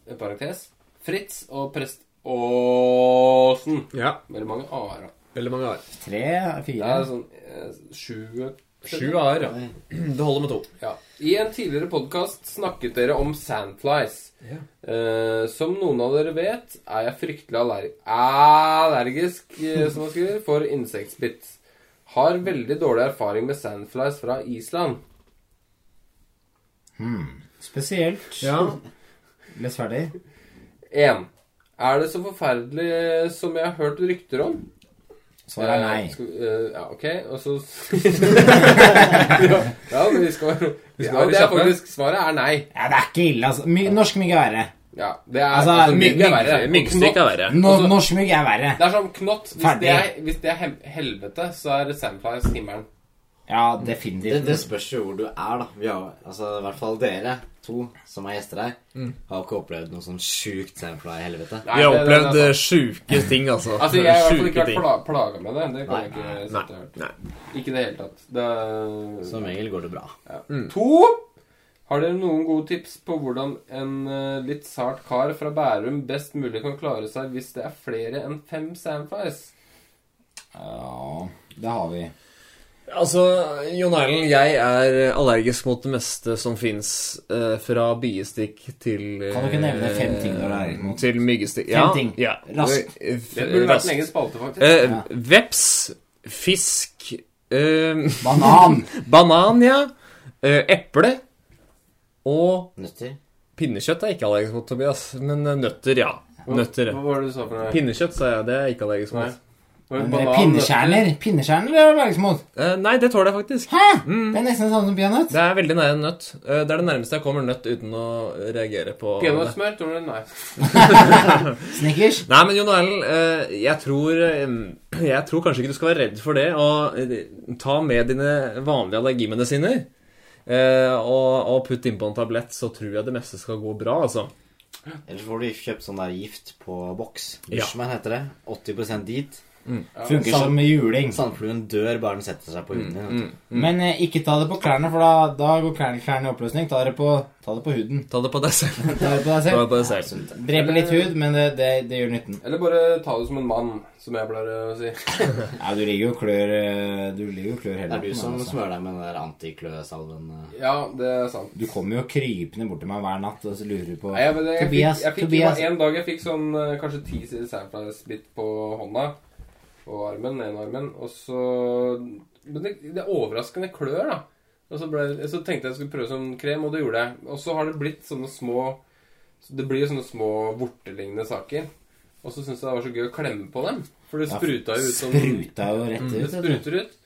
Speaker 1: En parentes. Fritz og prest Åsen.
Speaker 2: Ja.
Speaker 1: Veldig mange a-er. da.
Speaker 2: Veldig mange ar.
Speaker 3: Tre,
Speaker 1: Det er
Speaker 3: fire
Speaker 1: sånn eh, sju
Speaker 2: Sju ar, ja. Det holder med to.
Speaker 1: Ja. I en tidligere podkast snakket dere om sandflies.
Speaker 2: Ja.
Speaker 1: Eh, som noen av dere vet, er jeg fryktelig aller allergisk eh, som man skriver, for insektbitt. Har veldig dårlig erfaring med sandflies fra Island.
Speaker 3: Spesielt.
Speaker 2: Ja.
Speaker 3: Les ferdig.
Speaker 1: 1. Er det så forferdelig eh, som jeg har hørt rykter om?
Speaker 3: Svaret er
Speaker 1: Eh,
Speaker 3: nei.
Speaker 1: skal- eh, ja, ok, og så ja, ja, men vi skal,
Speaker 2: Vi skal
Speaker 1: ja,
Speaker 2: være
Speaker 1: det er
Speaker 2: kjappe.
Speaker 1: faktisk Svaret er nei.
Speaker 3: Ja, det er ikke ille, altså. My, norsk mygg er verre.
Speaker 1: Ja, det er
Speaker 3: Altså,
Speaker 1: mygg er verre. og
Speaker 2: Myggstykk
Speaker 1: knott-
Speaker 2: er verre.
Speaker 3: No, norsk mygg er verre.
Speaker 1: Det er som knott. Hvis
Speaker 3: Ferdig.
Speaker 1: det, er, hvis det er hel- helvete, så er Sandflies himmelen.
Speaker 3: Ja,
Speaker 4: Det, det
Speaker 3: definitivt.
Speaker 4: spørs jo hvor du er, da. Vi har, altså, I hvert fall dere to som er gjester her,
Speaker 3: Mm.
Speaker 4: har ikke opplevd noe sånn sjukt sandfly-helvete.
Speaker 1: Nei,
Speaker 2: Vi
Speaker 1: det-
Speaker 2: har
Speaker 1: det-
Speaker 2: opplevd
Speaker 1: det er
Speaker 2: eh,
Speaker 1: sant.
Speaker 2: sjuke ting, altså.
Speaker 1: Altså, Jeg har i hvert fall
Speaker 2: Sjuke
Speaker 1: ikke vært
Speaker 2: ting.
Speaker 1: pla plaga med det. Det kan
Speaker 4: Nei,
Speaker 1: jeg ikke si at jeg har
Speaker 2: Nei.
Speaker 1: hørt.
Speaker 2: Nei.
Speaker 1: Ikke i det hele tatt. Det er...
Speaker 4: Som regel går det bra.
Speaker 1: ja. To! Har dere noen gode tips på hvordan en eh, litt sart kar fra Bærum best mulig kan klare seg hvis det er flere enn fem Sandflies?
Speaker 3: Ja, det har vi.
Speaker 2: Altså, Jon Erlend, jeg er eh, allergisk mot det meste som fins. fra biestikk til eh,
Speaker 3: Kan du ikke nevne fem ting du er allergisk mot?
Speaker 2: Til myggestikk.
Speaker 3: Fem ting.
Speaker 2: Ja.
Speaker 3: Raskt.
Speaker 2: Eh, f-
Speaker 1: Det burde vært
Speaker 2: raskt.
Speaker 1: en egen spalte, faktisk.
Speaker 2: Eh,
Speaker 3: Ja.
Speaker 2: Veps, fisk eh,
Speaker 3: Banan!
Speaker 2: Banan, ja. Eh, eple. Og
Speaker 4: Nøtter?
Speaker 2: pinnekjøtt er jeg ikke allergisk mot, Tobias. Men eh, nøtter, ja. Nøtter.
Speaker 1: Hva var det du sa for noe?
Speaker 2: Pinnekjøtt, sa jeg. Det er jeg ikke allergisk
Speaker 1: Nei.
Speaker 2: mot.
Speaker 1: Var det
Speaker 3: Men,
Speaker 1: banan,
Speaker 3: eh, Pinnekjerner. Pinnekjerner er allergisk mot.
Speaker 2: Eh, nei, det tåler jeg faktisk.
Speaker 3: Hæ? Det er nesten det samme som peanøtt.
Speaker 2: Det er veldig nære en nøtt. Eh, det er det nærmeste jeg kommer nøtt uten å reagere på det.
Speaker 1: Peanøttsmør? Tror du det? Nei.
Speaker 3: Snickers.
Speaker 2: Nei, men Jon Erlend, eh, jeg tror eh, Jeg tror kanskje ikke du skal være redd for det. Og eh, ta med dine vanlige allergimedisiner. eh, og, og putt innpå en tablett, så tror jeg det meste skal gå bra, altså.
Speaker 4: Eller så får du kjøpt sånn der gift på boks.
Speaker 2: Ja.
Speaker 4: Bushman heter det. 80 dit.
Speaker 3: Funker som juling.
Speaker 4: Sandfluen dør bare den setter seg på huden din.
Speaker 2: Mm.
Speaker 4: vet du.
Speaker 3: Men eh, ikke ta det på klærne, for da, da går klærne, klærne i oppløsning. Ta det på, ta det på huden.
Speaker 2: Ta det på deg selv.
Speaker 3: Ta det på deg
Speaker 2: Ta det
Speaker 3: selv.
Speaker 2: på deg selv.
Speaker 3: Dreper litt hud, men det, det, det gjør nytten.
Speaker 1: Eller bare ta det som en mann, som jeg pleier å si.
Speaker 3: Ja, du ligger jo og klør eh, Du ligger jo og klør hele
Speaker 4: Det er du
Speaker 3: natten,
Speaker 4: som
Speaker 3: altså.
Speaker 4: smører deg med den der antikløsalven. eh.
Speaker 1: Ja, det er sant.
Speaker 3: Du kommer jo krypende bort til meg hver natt og så lurer du på
Speaker 1: Nei, jeg, vet det, jeg,
Speaker 3: Tobias,
Speaker 1: fikk, jeg fikk,
Speaker 3: Tobias.
Speaker 1: det var En dag jeg fikk sånn eh, kanskje ti sandflies-bitt på hånda og armen, den ene armen, og så Men det, det er overraskende klør, da. Og så, ble, så tenkte jeg jeg skulle prøve sånn krem, og det gjorde jeg. Og så har det blitt sånne små så Det blir jo sånne små vortelignende saker. Og så syns jeg det var så gøy å klemme på dem, for det
Speaker 3: Ja,
Speaker 1: spruta jo ut som
Speaker 3: Spruta jo
Speaker 1: Det
Speaker 3: rett ut. vet du.
Speaker 1: spruter ut.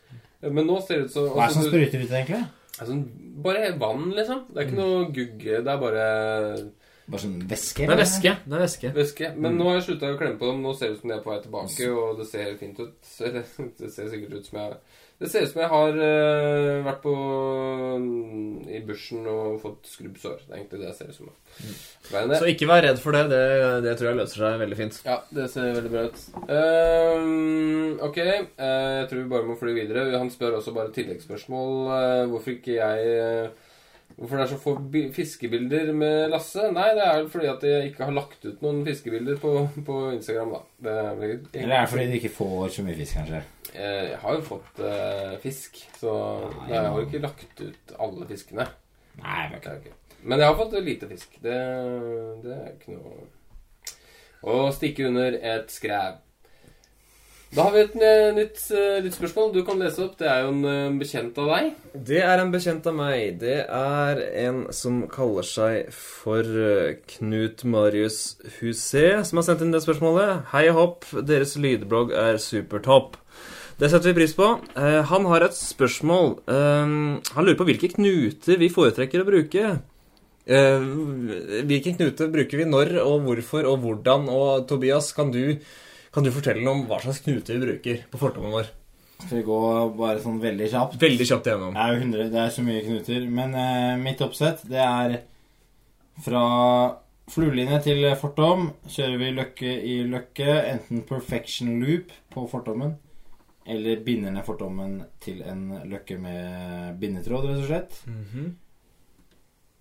Speaker 1: Men nå ser det ut som
Speaker 3: Hva er det
Speaker 1: også-
Speaker 3: som spruter Mm. ut, egentlig?
Speaker 1: Altså, bare vann, liksom. Det er ikke noe gugge. Det er bare
Speaker 3: Bare sånn væske?
Speaker 2: Det er
Speaker 3: eller?
Speaker 2: væske. Det er væske.
Speaker 1: væske. Men nå har jeg slutta å klemme på dem. Nå ser det ut som de er på vei tilbake, og det ser fint ut. Så Det det ser sikkert ut som jeg Det ser ut som jeg har eh, vært på mm, i bushen og fått skrubbsår. Det er egentlig det jeg ser ut som. Men eh,
Speaker 2: Så
Speaker 1: det,
Speaker 2: ikke vær redd for det. Det, det tror jeg løser seg veldig fint.
Speaker 1: ja, det ser veldig bra ut. Ehm, ok, eh, jeg tror vi bare må fly videre. Han spør også bare tilleggsspørsmål. eh, hvorfor ikke jeg eh, Hvorfor det er så få bi- fiskebilder med Lasse? Nei, det er vel fordi at jeg ikke har lagt ut noen fiskebilder på, på Instagram, da. Det er vel egentlig-
Speaker 3: Eller er det fordi du ikke får så mye fisk, kanskje?
Speaker 1: Eh, Jeg har jo fått eh, fisk, så
Speaker 3: Nei,
Speaker 1: Nei, jeg har jo
Speaker 3: men-
Speaker 1: ikke lagt ut alle fiskene.
Speaker 3: Nei, det er
Speaker 1: Det
Speaker 3: ikke
Speaker 1: er jo ikke- Men jeg har fått lite fisk. Det, det er ikke noe og stikke under et skræv. Da har vi et eh, nytt, eh, nytt spørsmål du kan lese opp. Det er jo en eh, bekjent av deg.
Speaker 5: Det er en bekjent av meg. Det er en som kaller seg for eh, Knut Marius Husé, som har sendt inn det spørsmålet. Hei hopp, deres lydblogg er supertopp. Det setter vi pris på. Eh, Han har et spørsmål. Eh, Han lurer på hvilke knuter vi foretrekker å bruke. Eh,
Speaker 2: Hvilken knute bruker vi når, og hvorfor, og hvordan? Og Tobias, kan du, kan du fortelle noe om hva slags knute vi bruker på fortommen vår?
Speaker 3: Skal vi gå bare sånn veldig kjapt?
Speaker 2: Veldig kjapt igjennom.
Speaker 3: Det er jo 100, det er så mye knuter. Men eh, mitt oppsett, det er fra fluelinje til fortom. Kjører vi løkke i løkke, enten perfection loop på fortommen, eller binder ned fortommen til en løkke med bindetråd, rett og slett.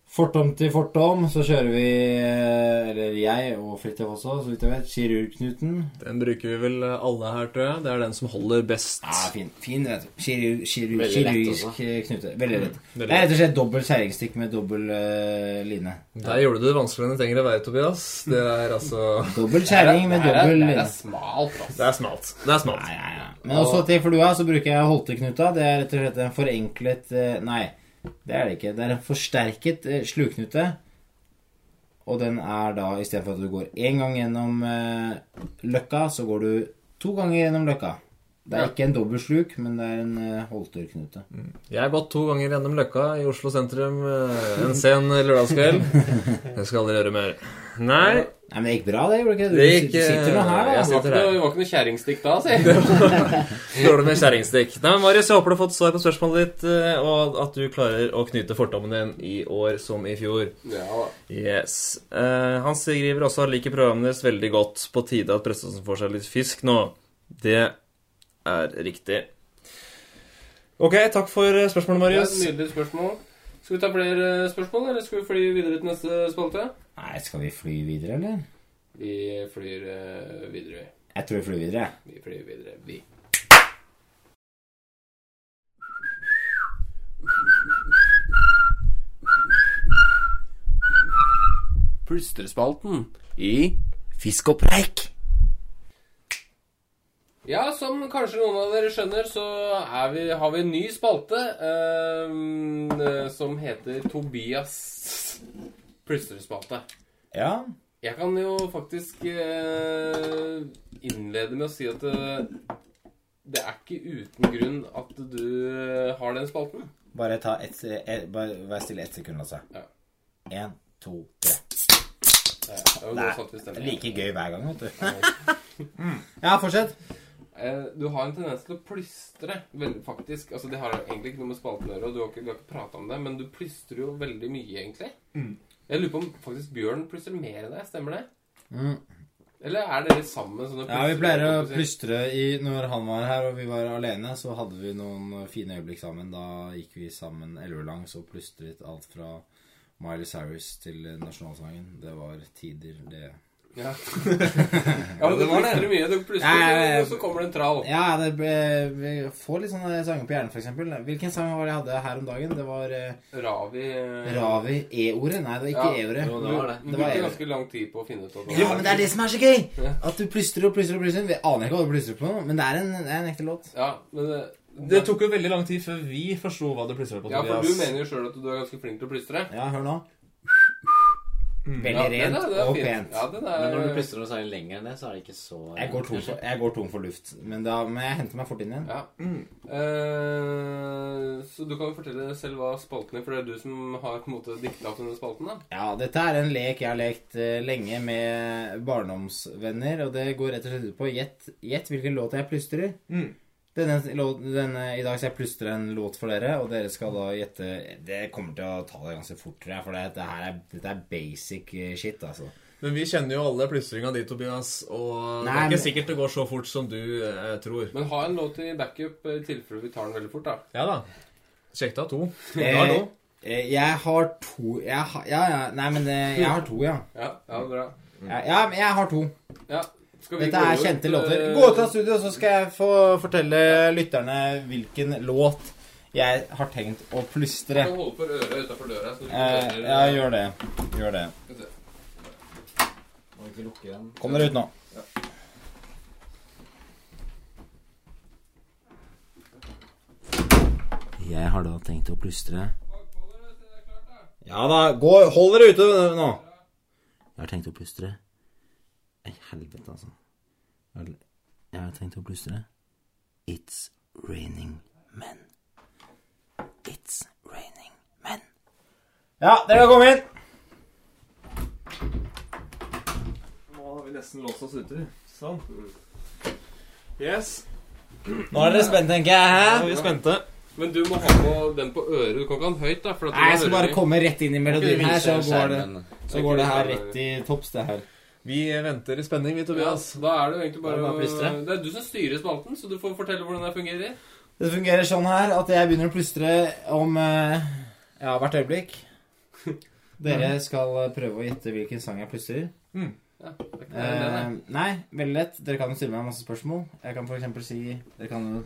Speaker 3: Fortom til fortom, så kjører vi, eh, eller jeg og Fridtjof også, så vidt jeg vet, kirurgknuten.
Speaker 2: Den bruker vi vel alle her, tror jeg. Det er den som holder best.
Speaker 3: Ja, fin, fin vet du. Kirurg, kirurg,
Speaker 4: Veldig lett
Speaker 3: kirurgisk eh, knute. Mm, Veldig lett. Det er rett og slett dobbel skjæringsstikk med dobbel eh, line.
Speaker 2: Der gjorde du det vanskeligere enn det trenger å være, Tobias. Det er altså
Speaker 3: Dobbel skjæring med
Speaker 1: Det er,
Speaker 3: dobbel
Speaker 1: det
Speaker 3: line.
Speaker 1: er smalt, altså.
Speaker 2: Det er smalt. Det er smalt.
Speaker 3: Nei, nei, nei. Men også til flua så bruker jeg holteknuta. Det er rett og slett en forenklet eh, Nei, det er det ikke. Det er en forsterket eh, sluknute. Og den er da istedenfor at du går én gang gjennom eh, løkka, så går du to ganger gjennom løkka. Det er
Speaker 1: Ja.
Speaker 3: ikke en dobbel sluk, men det er en eh, holterknute.
Speaker 2: Jeg har gått to ganger gjennom Løkka i Oslo sentrum eh, en sen lørdagskveld. Jeg skal aldri gjøre mer. Nei.
Speaker 3: Nei, men det gikk bra, det, gjorde det ikke? Du
Speaker 2: Det gikk,
Speaker 3: sit- sitter nå her, da.
Speaker 1: Det
Speaker 2: eh, jeg
Speaker 1: var ikke noe,
Speaker 2: sitter her.
Speaker 1: det var ikke noe kjerringstikk da, si.
Speaker 2: Dårlig med kjerringstikk. Nei, men Marius, jeg håper du har fått svar på spørsmålet ditt, eh, og at du klarer å knyte fortommen din i år som i fjor.
Speaker 1: Ja, da.
Speaker 2: Yes. Eh, han skriver også at liker programmet deres veldig godt. På tide at Preståsen får seg litt fisk nå. Det er riktig. Ok, takk for eh, spørsmålet,
Speaker 1: Det er
Speaker 2: Marius.
Speaker 1: et Nydelig spørsmål. Skal vi ta flere eh, spørsmål, eller skal vi fly videre til neste spalte?
Speaker 3: Nei, skal vi fly videre, eller?
Speaker 1: Vi flyr eh, videre.
Speaker 3: Jeg tror vi flyr videre. jeg.
Speaker 1: Vi flyr videre, vi. Pustrespalten i Fisk og preik. Ja, som kanskje noen av dere skjønner, så er vi, har vi en ny spalte eh, som heter Tobias pustrespate.
Speaker 3: Ja.
Speaker 1: Jeg kan jo faktisk eh, innlede med å si at eh, det er ikke uten grunn at du eh, har den spalten.
Speaker 3: Bare ta ett se- eh, Bare vær stille ett sekund, altså.
Speaker 1: Ja.
Speaker 3: Én, to, tre.
Speaker 1: Det var
Speaker 3: Nei,
Speaker 1: godt satt i
Speaker 3: Det er
Speaker 1: stemning.
Speaker 3: like gøy hver gang, vet du. Mm. Ja, fortsett.
Speaker 1: Eh, du har en tendens til å plystre, vel, faktisk. Altså, Det har egentlig ikke noe med spalten å gjøre, og du har ikke, du har ikke prata om det, men du plystrer jo veldig mye, egentlig. Jeg lurer på om faktisk Bjørn plystrer mer enn deg. Stemmer det?
Speaker 3: Mm.
Speaker 1: Eller er dere sammen? sånn at
Speaker 3: Ja, vi pleier å
Speaker 1: plystrer-
Speaker 3: plystre i Når han var her og vi var alene, så hadde vi noen fine øyeblikk sammen. Da gikk vi sammen elvelangs og plystret alt fra Miley Cyrus til nasjonalsangen. Det var tider, det.
Speaker 1: Ja, ja men du plystrer mye. Du plystrer,
Speaker 3: Ja, ja, ja.
Speaker 1: og så kommer det en trall.
Speaker 3: Ja, det ble, vi får litt sånne sanger på hjernen, for eksempel. Hvilken sang var det jeg hadde her om dagen? Det var eh,
Speaker 1: Ravi eh,
Speaker 3: Ravi E-ordet? Nei, det var ikke E-ordet.
Speaker 1: Jo, det var det. Du
Speaker 3: Det var
Speaker 1: brukte
Speaker 3: E-ordet.
Speaker 1: ganske lang tid på å finne ut av det.
Speaker 3: Ja, men det er det som er så gøy! At du plystrer og plystrer og plystrer. Vi aner ikke hva du plystrer på, men det er en, det er en ekte låt.
Speaker 1: Ja, men det,
Speaker 2: Det tok jo veldig lang tid før vi forsto hva du plystra på.
Speaker 1: ja, for du
Speaker 2: Tobias.
Speaker 1: mener jo sjøl at du er ganske flink til å plystre.
Speaker 3: Ja, hør nå.
Speaker 1: Ja,
Speaker 3: Veldig
Speaker 1: Mm. det
Speaker 3: rent
Speaker 1: er- det er
Speaker 3: og
Speaker 1: fint.
Speaker 3: pent.
Speaker 1: Ja, den
Speaker 4: Men når du
Speaker 1: er
Speaker 4: plystrer noe særlig lenger enn det, så er det ikke så
Speaker 3: Eh. Jeg går tom for, jeg går tom for luft, men, da, men jeg henter meg fort inn igjen.
Speaker 1: ja.
Speaker 4: Mm.
Speaker 1: Eh, så du kan jo fortelle selv hva spalten er, for det er du som har på en måte dikta opp denne spalten. da
Speaker 3: Ja, dette er en lek jeg har lekt eh, lenge med barndomsvenner, og det går rett og slett ut på gjett gjett hvilken låt jeg plystrer.
Speaker 2: Mm.
Speaker 3: Denne, låt, denne, I dag skal jeg plystre en låt for dere, og dere skal da gjette Det kommer til å ta det ganske fort, tror jeg, for det, dette her er, dette er basic eh, shit, altså.
Speaker 2: Men vi kjenner jo alle plystringa di, Tobias, og det
Speaker 3: Nei,
Speaker 2: er
Speaker 3: men-
Speaker 2: ikke sikkert det går så fort som du eh, tror.
Speaker 1: Men ha en låt i backup eh, i tilfelle vi tar den veldig fort, da.
Speaker 2: Ja da. Sjekk deg to.
Speaker 3: Eh,
Speaker 2: Har to.
Speaker 3: eh, jeg har to jeg har, Ja, ja. Nei, men eh, jeg har to, ja.
Speaker 1: Ja, ja bra.
Speaker 3: Ja, ja, men jeg har to.
Speaker 1: Ja, skal vi
Speaker 3: Dette
Speaker 1: gå
Speaker 3: er
Speaker 1: ut,
Speaker 3: kjente
Speaker 1: eh,
Speaker 3: låter. Gå ut av studio, så skal jeg få fortelle lytterne hvilken låt jeg har tenkt å
Speaker 1: Du
Speaker 3: plystre.
Speaker 1: kan holde for øret utafor døra. Så du
Speaker 3: Eh,
Speaker 1: hører-
Speaker 3: ja, gjør det. Gjør det.
Speaker 1: Skal vi se.
Speaker 5: Ok,
Speaker 6: ikke lukke igjen.
Speaker 3: Kom dere ut nå. Jeg har da tenkt å plystre Ja da, gå, hold dere ute nå! Jeg har tenkt å plystre Ei helvete, altså. Vel, Jeg har tenkt å plystre It's raining men. It's raining men. Ja, dere kan komme inn!
Speaker 5: Nå har vi nesten låst oss ute. Sånn. Yes.
Speaker 3: Nå er dere spent, tenker jeg.
Speaker 5: Nå er vi spente.
Speaker 1: Men du må ha på den på øret. Du kan ikke ha den høyt, da. For at
Speaker 3: Nei, jeg
Speaker 1: da
Speaker 3: skal
Speaker 1: hører
Speaker 3: bare
Speaker 1: vi.
Speaker 3: komme rett inn i melodien her, så går det,
Speaker 4: Skjermen.
Speaker 3: så går det her rett i topps, det her.
Speaker 2: Vi venter i spenning, vi,
Speaker 1: Ja,
Speaker 2: Tobias.
Speaker 1: da er det jo egentlig bare
Speaker 3: Bare
Speaker 1: å
Speaker 3: plystre.
Speaker 1: Det er du som styrer spalten, så du får fortelle hvordan det fungerer.
Speaker 3: Det fungerer sånn her at jeg begynner å plystre om eh, ja, hvert øyeblikk. Dere skal eh, prøve å gjette hvilken sang jeg plystrer.
Speaker 1: Ja, det er ikke mer enn det,
Speaker 3: Eh,
Speaker 1: nei.
Speaker 3: nei, veldig lett. Dere kan jo stille meg masse spørsmål. Jeg kan for eksempel si Dere kan jo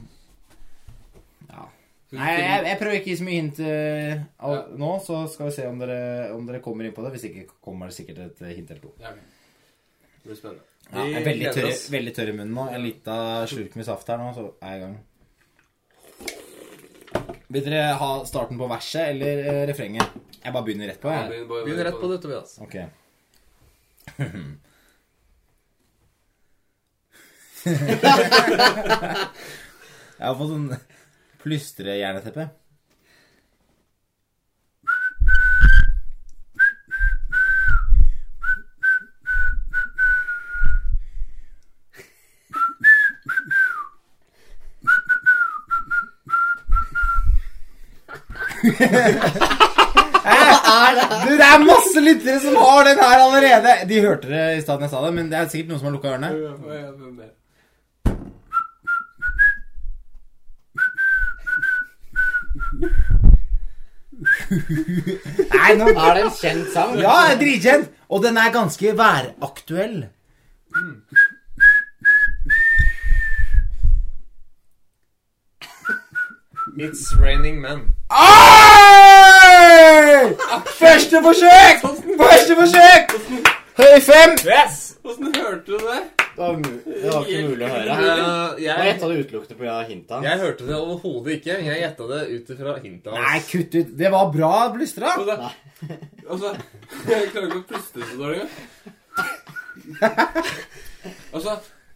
Speaker 3: Ja. Nei, jeg, jeg prøver ikke å gi så mye hint eh, all,
Speaker 1: Ja.
Speaker 3: nå, så skal vi se om dere, om dere kommer inn på det. Hvis ikke kommer det sikkert et eh, hint eller to.
Speaker 1: Ja, ok. Det blir spennende.
Speaker 3: Ja, jeg er veldig tørr, veldig tørr i munnen nå. En liten slurk med saft her nå, så er jeg i gang. Vil dere ha starten på verset eller eh, refrenget? Jeg bare begynner rett på. Jeg.
Speaker 1: Begynn bare-
Speaker 2: Begynn rett på det, Tobias.
Speaker 3: Ok. jeg har fått sånn plystrehjerneteppe. Du, det er masse lyttere som har den her allerede! De hørte det i stad da jeg sa det, men det er sikkert noen som har lukka ørene.
Speaker 1: Ja, ja, hvem er det?
Speaker 3: Nei, nå
Speaker 4: Er det en kjent sang?
Speaker 3: Ja, jeg er dritkjent! Og den er ganske væraktuell.
Speaker 5: It's raining men.
Speaker 3: Oi! Første forsøk! Første forsøk! Høy fem!
Speaker 5: Yes!
Speaker 1: Hvordan hørte du det?
Speaker 4: Det var, mu det var ikke mulig å høre. Jeg
Speaker 5: jeg,
Speaker 4: gjetta det utelukkende pga. hinta.
Speaker 5: jeg hørte det overhodet ikke. Jeg gjetta det ut ifra hintet
Speaker 3: Nei,
Speaker 5: hans.
Speaker 3: kutt ut. Det var bra blystra.
Speaker 1: Altså, altså Jeg klarer ikke å puste så dårlig engang. Altså,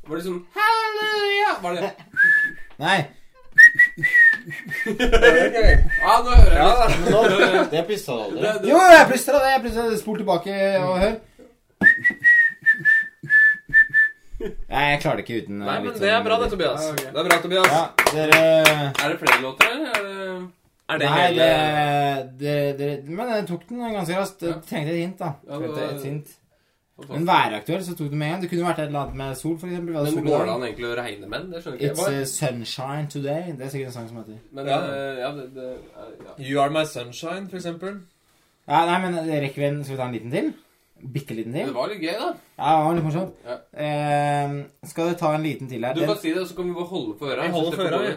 Speaker 1: var det sånn Halleluja! Var det
Speaker 3: Nei.
Speaker 1: Ja, nå hører jeg det.
Speaker 4: Men nå, det pissa du aldri.
Speaker 1: det, det.
Speaker 3: Jo, jeg plystra det. Jeg plystra det. Spol tilbake og hør. Nei, jeg klarer det ikke uten eh,
Speaker 5: Nei, men
Speaker 3: litt
Speaker 5: det er
Speaker 3: sånn-
Speaker 5: bra det, Tobias.
Speaker 1: Ja, ok.
Speaker 5: Det er bra, Tobias.
Speaker 3: Ja, dere
Speaker 1: Er det flere låter, eller? Er det...
Speaker 5: Er det
Speaker 3: Nei,
Speaker 5: hele
Speaker 3: det, det, det Men jeg tok den ganske raskt. Jeg Trengte et hint, da.
Speaker 1: Ja, det var-
Speaker 3: Trengte et hint. Men væraktuell, så tok du med en. Det kunne vært et eller annet med sol, for eksempel. Vi hadde
Speaker 1: Men
Speaker 3: sol i
Speaker 1: går
Speaker 3: dag.
Speaker 1: det an egentlig å regne med den? Det skjønner
Speaker 3: It's
Speaker 1: ikke jeg.
Speaker 3: uh, sunshine today. Det er sikkert en sang som heter
Speaker 1: Men
Speaker 5: Ja.
Speaker 1: eh, ja, det, det er- ja.
Speaker 5: You Are My Sunshine, for eksempel?
Speaker 3: Ja, nei, men det rekker vi en Skal vi ta en liten til? Bitte liten til?
Speaker 1: Det var litt gøy, da.
Speaker 3: Ja, det var litt morsomt.
Speaker 1: Ja.
Speaker 3: Eh, skal dere ta en liten til her?
Speaker 1: Du
Speaker 3: Den-
Speaker 1: kan si det, og så kan vi bare holde for øra.
Speaker 5: Vi holder for øra, vi.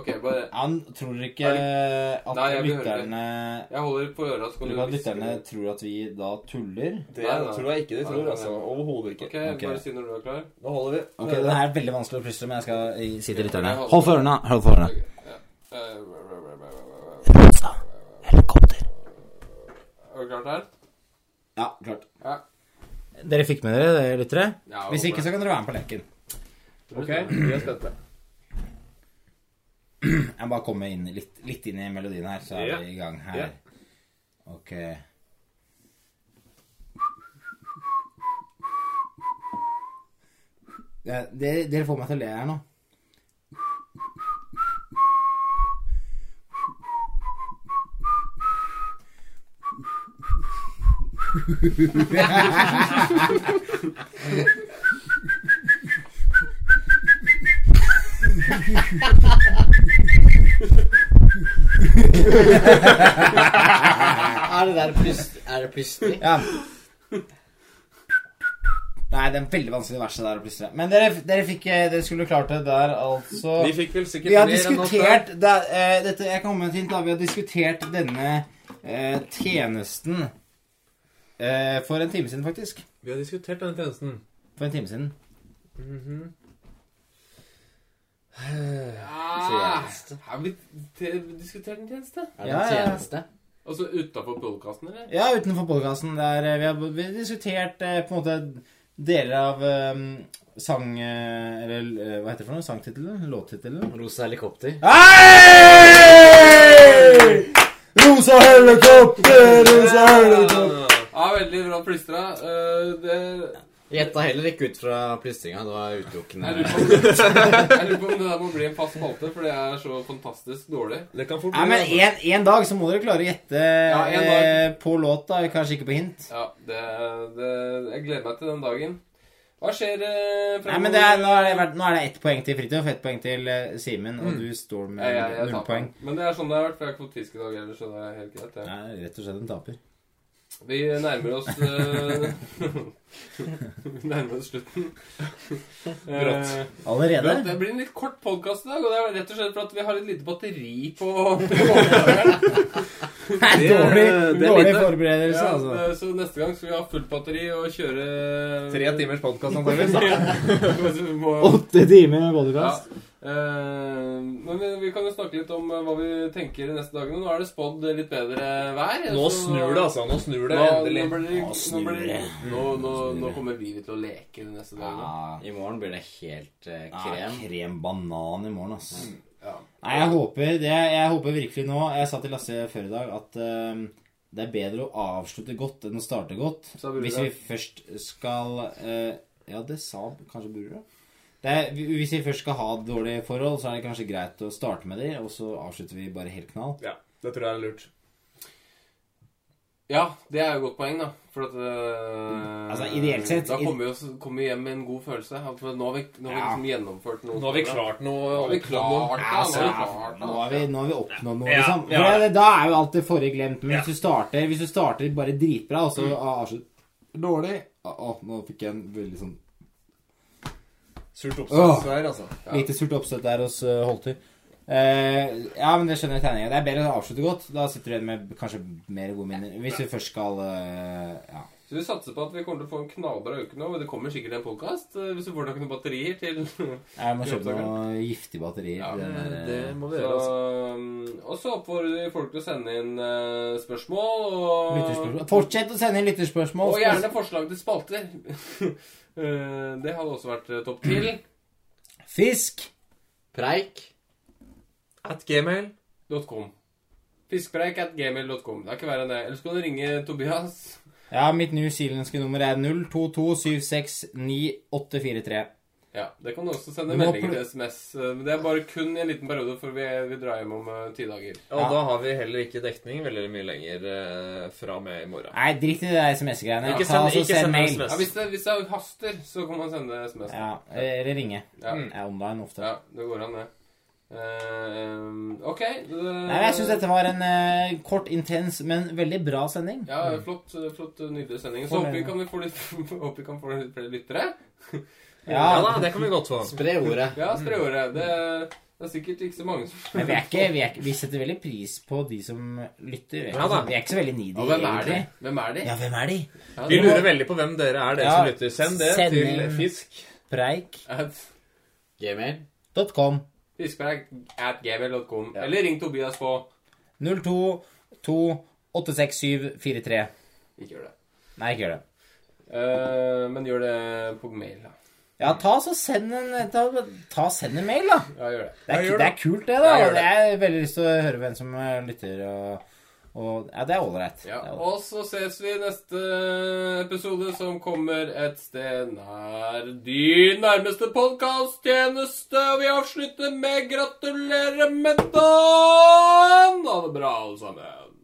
Speaker 1: Ok, bare
Speaker 3: Han tror ikke at
Speaker 1: Nei, jeg vil høre det.
Speaker 3: lytterne
Speaker 1: Jeg holder for øra, så kan
Speaker 3: Tror
Speaker 1: du
Speaker 3: ikke at
Speaker 1: hviske
Speaker 3: lytterne
Speaker 1: det.
Speaker 3: tror at vi da tuller.
Speaker 5: Det
Speaker 1: Nei, nei.
Speaker 5: tror jeg ikke de
Speaker 1: Nei,
Speaker 5: tror.
Speaker 1: nei,
Speaker 5: altså.
Speaker 1: nei.
Speaker 5: Overhodet
Speaker 1: Ok,
Speaker 5: ikke.
Speaker 1: bare si når du er klar.
Speaker 5: Nå holder vi.
Speaker 3: Ok, Den her er veldig vanskelig å plystre, men jeg skal eh, si til lytterne
Speaker 1: Jeg holder-
Speaker 3: Hold for ørene! Hold for
Speaker 1: Ok,
Speaker 3: ørene.
Speaker 1: ja. Eh, Er
Speaker 3: Rosa. Helikopter.
Speaker 1: du klart her?
Speaker 3: Ja, klart.
Speaker 1: Ja.
Speaker 3: Dere fikk med dere det, lyttere?
Speaker 1: ja
Speaker 3: Hvis ikke, så kan dere være med på leken.
Speaker 1: Ok.
Speaker 5: vi er spente.
Speaker 3: Jeg må bare komme inn, litt, litt inn i melodien her, så er
Speaker 5: Ja.
Speaker 3: vi i gang her.
Speaker 5: Ja.
Speaker 3: Ok. Ja, dere, dere får meg til å le her nå.
Speaker 4: Er det der plyst- er det plystring?
Speaker 3: Ja. Nei, det er en veldig vanskelig verset der å plystre. Men dere, dere, fikk, eh, dere skulle klart det der, altså.
Speaker 5: Vi fikk vel sikkert
Speaker 3: Vi har
Speaker 5: mer enn alt
Speaker 3: diskutert det, eh, dette, Jeg kan komme med et hint. da Vi har diskutert denne eh, tjenesten eh, for en time siden, faktisk.
Speaker 2: Vi har diskutert denne tjenesten.
Speaker 3: for en time siden.
Speaker 1: Mm-hmm. Ja, Ah, har vi te- diskutert en tjeneste?
Speaker 4: Er det
Speaker 3: Ja,
Speaker 4: en
Speaker 3: ja.
Speaker 4: tjeneste?
Speaker 1: Altså utafor podkasten, eller?
Speaker 3: Ja, utenfor podkasten. Der eh, vi har, vi har diskutert eh, på en måte deler av eh, sang... eh, Eller eh, hva heter det for noe? Sangtittelen? Låttittelen?
Speaker 4: Rosa helikopter?
Speaker 3: Hei! Rosa helikopter, rosa helikopter
Speaker 1: Ja, veldig bra plystra. Eh, det
Speaker 4: Gjetta heller ikke ut fra plystringa. Det var
Speaker 1: Jeg
Speaker 4: utelukkende
Speaker 1: lurer på om- jeg lurer på om det der må bli en fast spalte, for det er så fantastisk dårlig.
Speaker 5: Det kan fort
Speaker 3: Nei, men
Speaker 5: bli,
Speaker 3: en, en dag så må dere klare å gjette
Speaker 1: en
Speaker 3: eh, på låt, da. Kanskje ikke på hint.
Speaker 1: Ja, det, det Jeg gleder meg til den dagen. Hva skjer eh,
Speaker 3: Nei, men det er, nå, er det, vært- nå er det ett poeng til Fridtjof, ett poeng til eh, Simen, og du står
Speaker 1: Mm. Ja,
Speaker 3: med
Speaker 1: ja, jeg
Speaker 3: null
Speaker 1: tar
Speaker 3: poeng.
Speaker 1: den. Men det er sånn det har vært, for jeg har ikke fått fisk i dag heller, så det er helt greit. Ja.
Speaker 3: Nei, rett og slett en taper.
Speaker 1: Vi nærmer oss eh, Vi nærmer oss slutten. Brått.
Speaker 3: Allerede?
Speaker 1: Det blir en litt kort podkast i dag, og det er rett og slett for at vi har litt lite batteri på overgangen.
Speaker 3: Nei, dårlig
Speaker 5: det er
Speaker 3: dårlig
Speaker 5: lite.
Speaker 3: forberedelse,
Speaker 1: ja,
Speaker 3: altså.
Speaker 1: det- Eh, Så neste gang skal vi ha fullt batteri og kjøre
Speaker 5: Tre timers podkast antakeligvis.
Speaker 1: Vi må-
Speaker 3: Åtte timer med
Speaker 1: ja.
Speaker 3: bodycast.
Speaker 1: Eh, Men vi- vi kan jo snakke litt om eh, hva vi tenker de neste dagene. Nå er det spådd litt bedre vær.
Speaker 5: Nå
Speaker 1: så-
Speaker 5: snur det, altså. Nå snur det
Speaker 1: Nå,
Speaker 5: endelig.
Speaker 1: nå, blir, det-
Speaker 3: Nå
Speaker 1: nå,
Speaker 3: snur
Speaker 1: blir,
Speaker 3: det.
Speaker 1: det- nå, nå, nå kommer vi til å leke de neste dagene.
Speaker 4: I morgen blir det helt eh, krem.
Speaker 3: krem banan i morgen, ass.
Speaker 1: Ja.
Speaker 3: Nei, jeg håper, det, jeg håper virkelig nå Jeg sa til Lasse før i dag at eh, det er bedre å avslutte godt enn å starte godt.
Speaker 1: Sa Burra.
Speaker 3: Hvis vi først skal eh, Ja, det sa kanskje Burra. Det er, hvis vi først skal ha dårlige forhold, så er det kanskje greit å starte med de, og så avslutter vi bare helt knall.
Speaker 5: Ja, det tror jeg er lurt.
Speaker 1: Ja, det er jo et godt poeng, da. For at øh,
Speaker 3: Altså, ideelt sett-
Speaker 1: Da kommer vi, oss, kommer vi hjem med en god følelse. At nå har vi, nå har vi liksom gjennomført noe.
Speaker 5: Nå har vi klart noe.
Speaker 1: Nå har vi klart det.
Speaker 3: Altså,
Speaker 1: nå har vi klart
Speaker 3: nå
Speaker 1: det.
Speaker 3: har vi, nå har vi oppnådd noe,
Speaker 5: Ja,
Speaker 3: liksom.
Speaker 5: ja.
Speaker 3: For det, da er jo alt det forrige glemt. Men hvis, du starter, hvis du starter bare dritbra, og så avslutter Mm. dårlig Å, å, nå fikk jeg en veldig sånn
Speaker 5: Surt
Speaker 3: Åh.
Speaker 5: oppstått her, altså.
Speaker 3: Ja. Lite surt oppstøtt der hos eh, Holter. Eh, ja, men det skjønner jeg tegninga. Det er bedre å avslutte godt. Da sitter du igjen med kanskje mer gode minner. Hvis du først skal eh, Ja.
Speaker 1: Så vi satser på at vi kommer til å få en knallbra uke nå. Men det kommer sikkert en podkast hvis du får tak i noen batterier til.
Speaker 3: Jeg må kjøpe
Speaker 1: Jobbsaker.
Speaker 3: noen giftige batterier.
Speaker 1: Ja,
Speaker 3: til den der,
Speaker 5: Det
Speaker 3: eh,
Speaker 5: må vi
Speaker 1: Så,
Speaker 5: gjøre, altså.
Speaker 1: øhm, og så oppfordrer vi folk til å sende inn øh, spørsmål. Og,
Speaker 3: lytterspørsmål. Fortsett å sende inn lytterspørsmål.
Speaker 1: og gjerne forslag til spalter. Eh, det hadde også vært eh, topp til.
Speaker 3: Fisk.
Speaker 4: Preik.
Speaker 5: At gmail.
Speaker 1: .com. Fiskpreik at gmail.com. Det er ikke verre enn det. Eller så kan du ringe Tobias.
Speaker 3: Ja, mitt new zealandske nummer er 0227698843.
Speaker 1: Ja, Det kan du også sende
Speaker 3: Du må
Speaker 1: meldinger
Speaker 3: pl-
Speaker 1: til SMS. eh, Men det er bare kun i en liten periode, for vi, vi drar hjem om eh, ti dager.
Speaker 5: Og
Speaker 3: Ja.
Speaker 5: da har vi heller ikke dekning veldig mye lenger eh, fra og med i morgen.
Speaker 3: Nei, drit i det SMS-greiene.
Speaker 5: Ikke
Speaker 3: Ta
Speaker 5: send-
Speaker 3: og så
Speaker 5: ikke
Speaker 3: send
Speaker 5: send
Speaker 3: mail.
Speaker 5: SMS.
Speaker 1: Ja, hvis, det, hvis det haster, så kan man sende SMS. Ja,
Speaker 3: Ja, Mm. eller ringe.
Speaker 1: ja.
Speaker 5: Mm.
Speaker 3: Jeg er online ofte.
Speaker 1: det går an, det. Eh, ok.
Speaker 3: Nei, jeg syns dette var en eh, kort, intens, men veldig bra sending.
Speaker 1: Ja, flott, flott eh, nydelig sending. Så
Speaker 3: Fornøyd.
Speaker 1: håper vi kan vi få litt, håper vi kan få litt flere lyttere.
Speaker 3: Ja,
Speaker 5: Ja da, det kan vi godt få.
Speaker 4: Spre ordet.
Speaker 1: Ja, spre ordet. Det, det er sikkert ikke så mange som
Speaker 3: Mm. Men vi, er ikke, vi, er, ikke- vi setter veldig pris på de som lytter. Vi er,
Speaker 5: Ja
Speaker 3: ikke,
Speaker 5: da.
Speaker 3: vi er ikke så veldig needy.
Speaker 1: Og hvem er de?
Speaker 3: egentlig.
Speaker 1: Hvem er de?
Speaker 3: Ja, hvem er de?
Speaker 1: Ja,
Speaker 5: Vi
Speaker 1: det-
Speaker 5: lurer veldig på hvem dere er, dere
Speaker 3: Ja,
Speaker 5: som lytter. Send det
Speaker 3: send
Speaker 5: til
Speaker 3: inn.
Speaker 5: fisk.com.
Speaker 3: Preik.com.
Speaker 1: At-
Speaker 4: Gmail.
Speaker 1: Fiskberg at gmail.com. Eller ring Tobias på
Speaker 3: 02286743.
Speaker 1: Ikke gjør det.
Speaker 3: Nei, ikke gjør det.
Speaker 1: Eh, men gjør det på mail, da.
Speaker 3: Ja, ta så send en, ta, ta send en mail, da.
Speaker 1: Ja, gjør det.
Speaker 3: Det er,
Speaker 5: Ja,
Speaker 3: ku-
Speaker 5: gjør
Speaker 3: det
Speaker 5: det.
Speaker 3: er kult, det,
Speaker 1: Ja,
Speaker 3: da.
Speaker 1: gjør det.
Speaker 3: Det er veldig lyst til å høre hvem som eh, lytter. og... Og, ja, det er ålreit. Det
Speaker 1: Ja,
Speaker 3: er ålreit.
Speaker 1: og så ses vi i neste episode, som kommer et sted nær din nærmeste podkasttjeneste. Og vi avslutter med 'Gratulerer med dagen'! Ha det bra, alle sammen.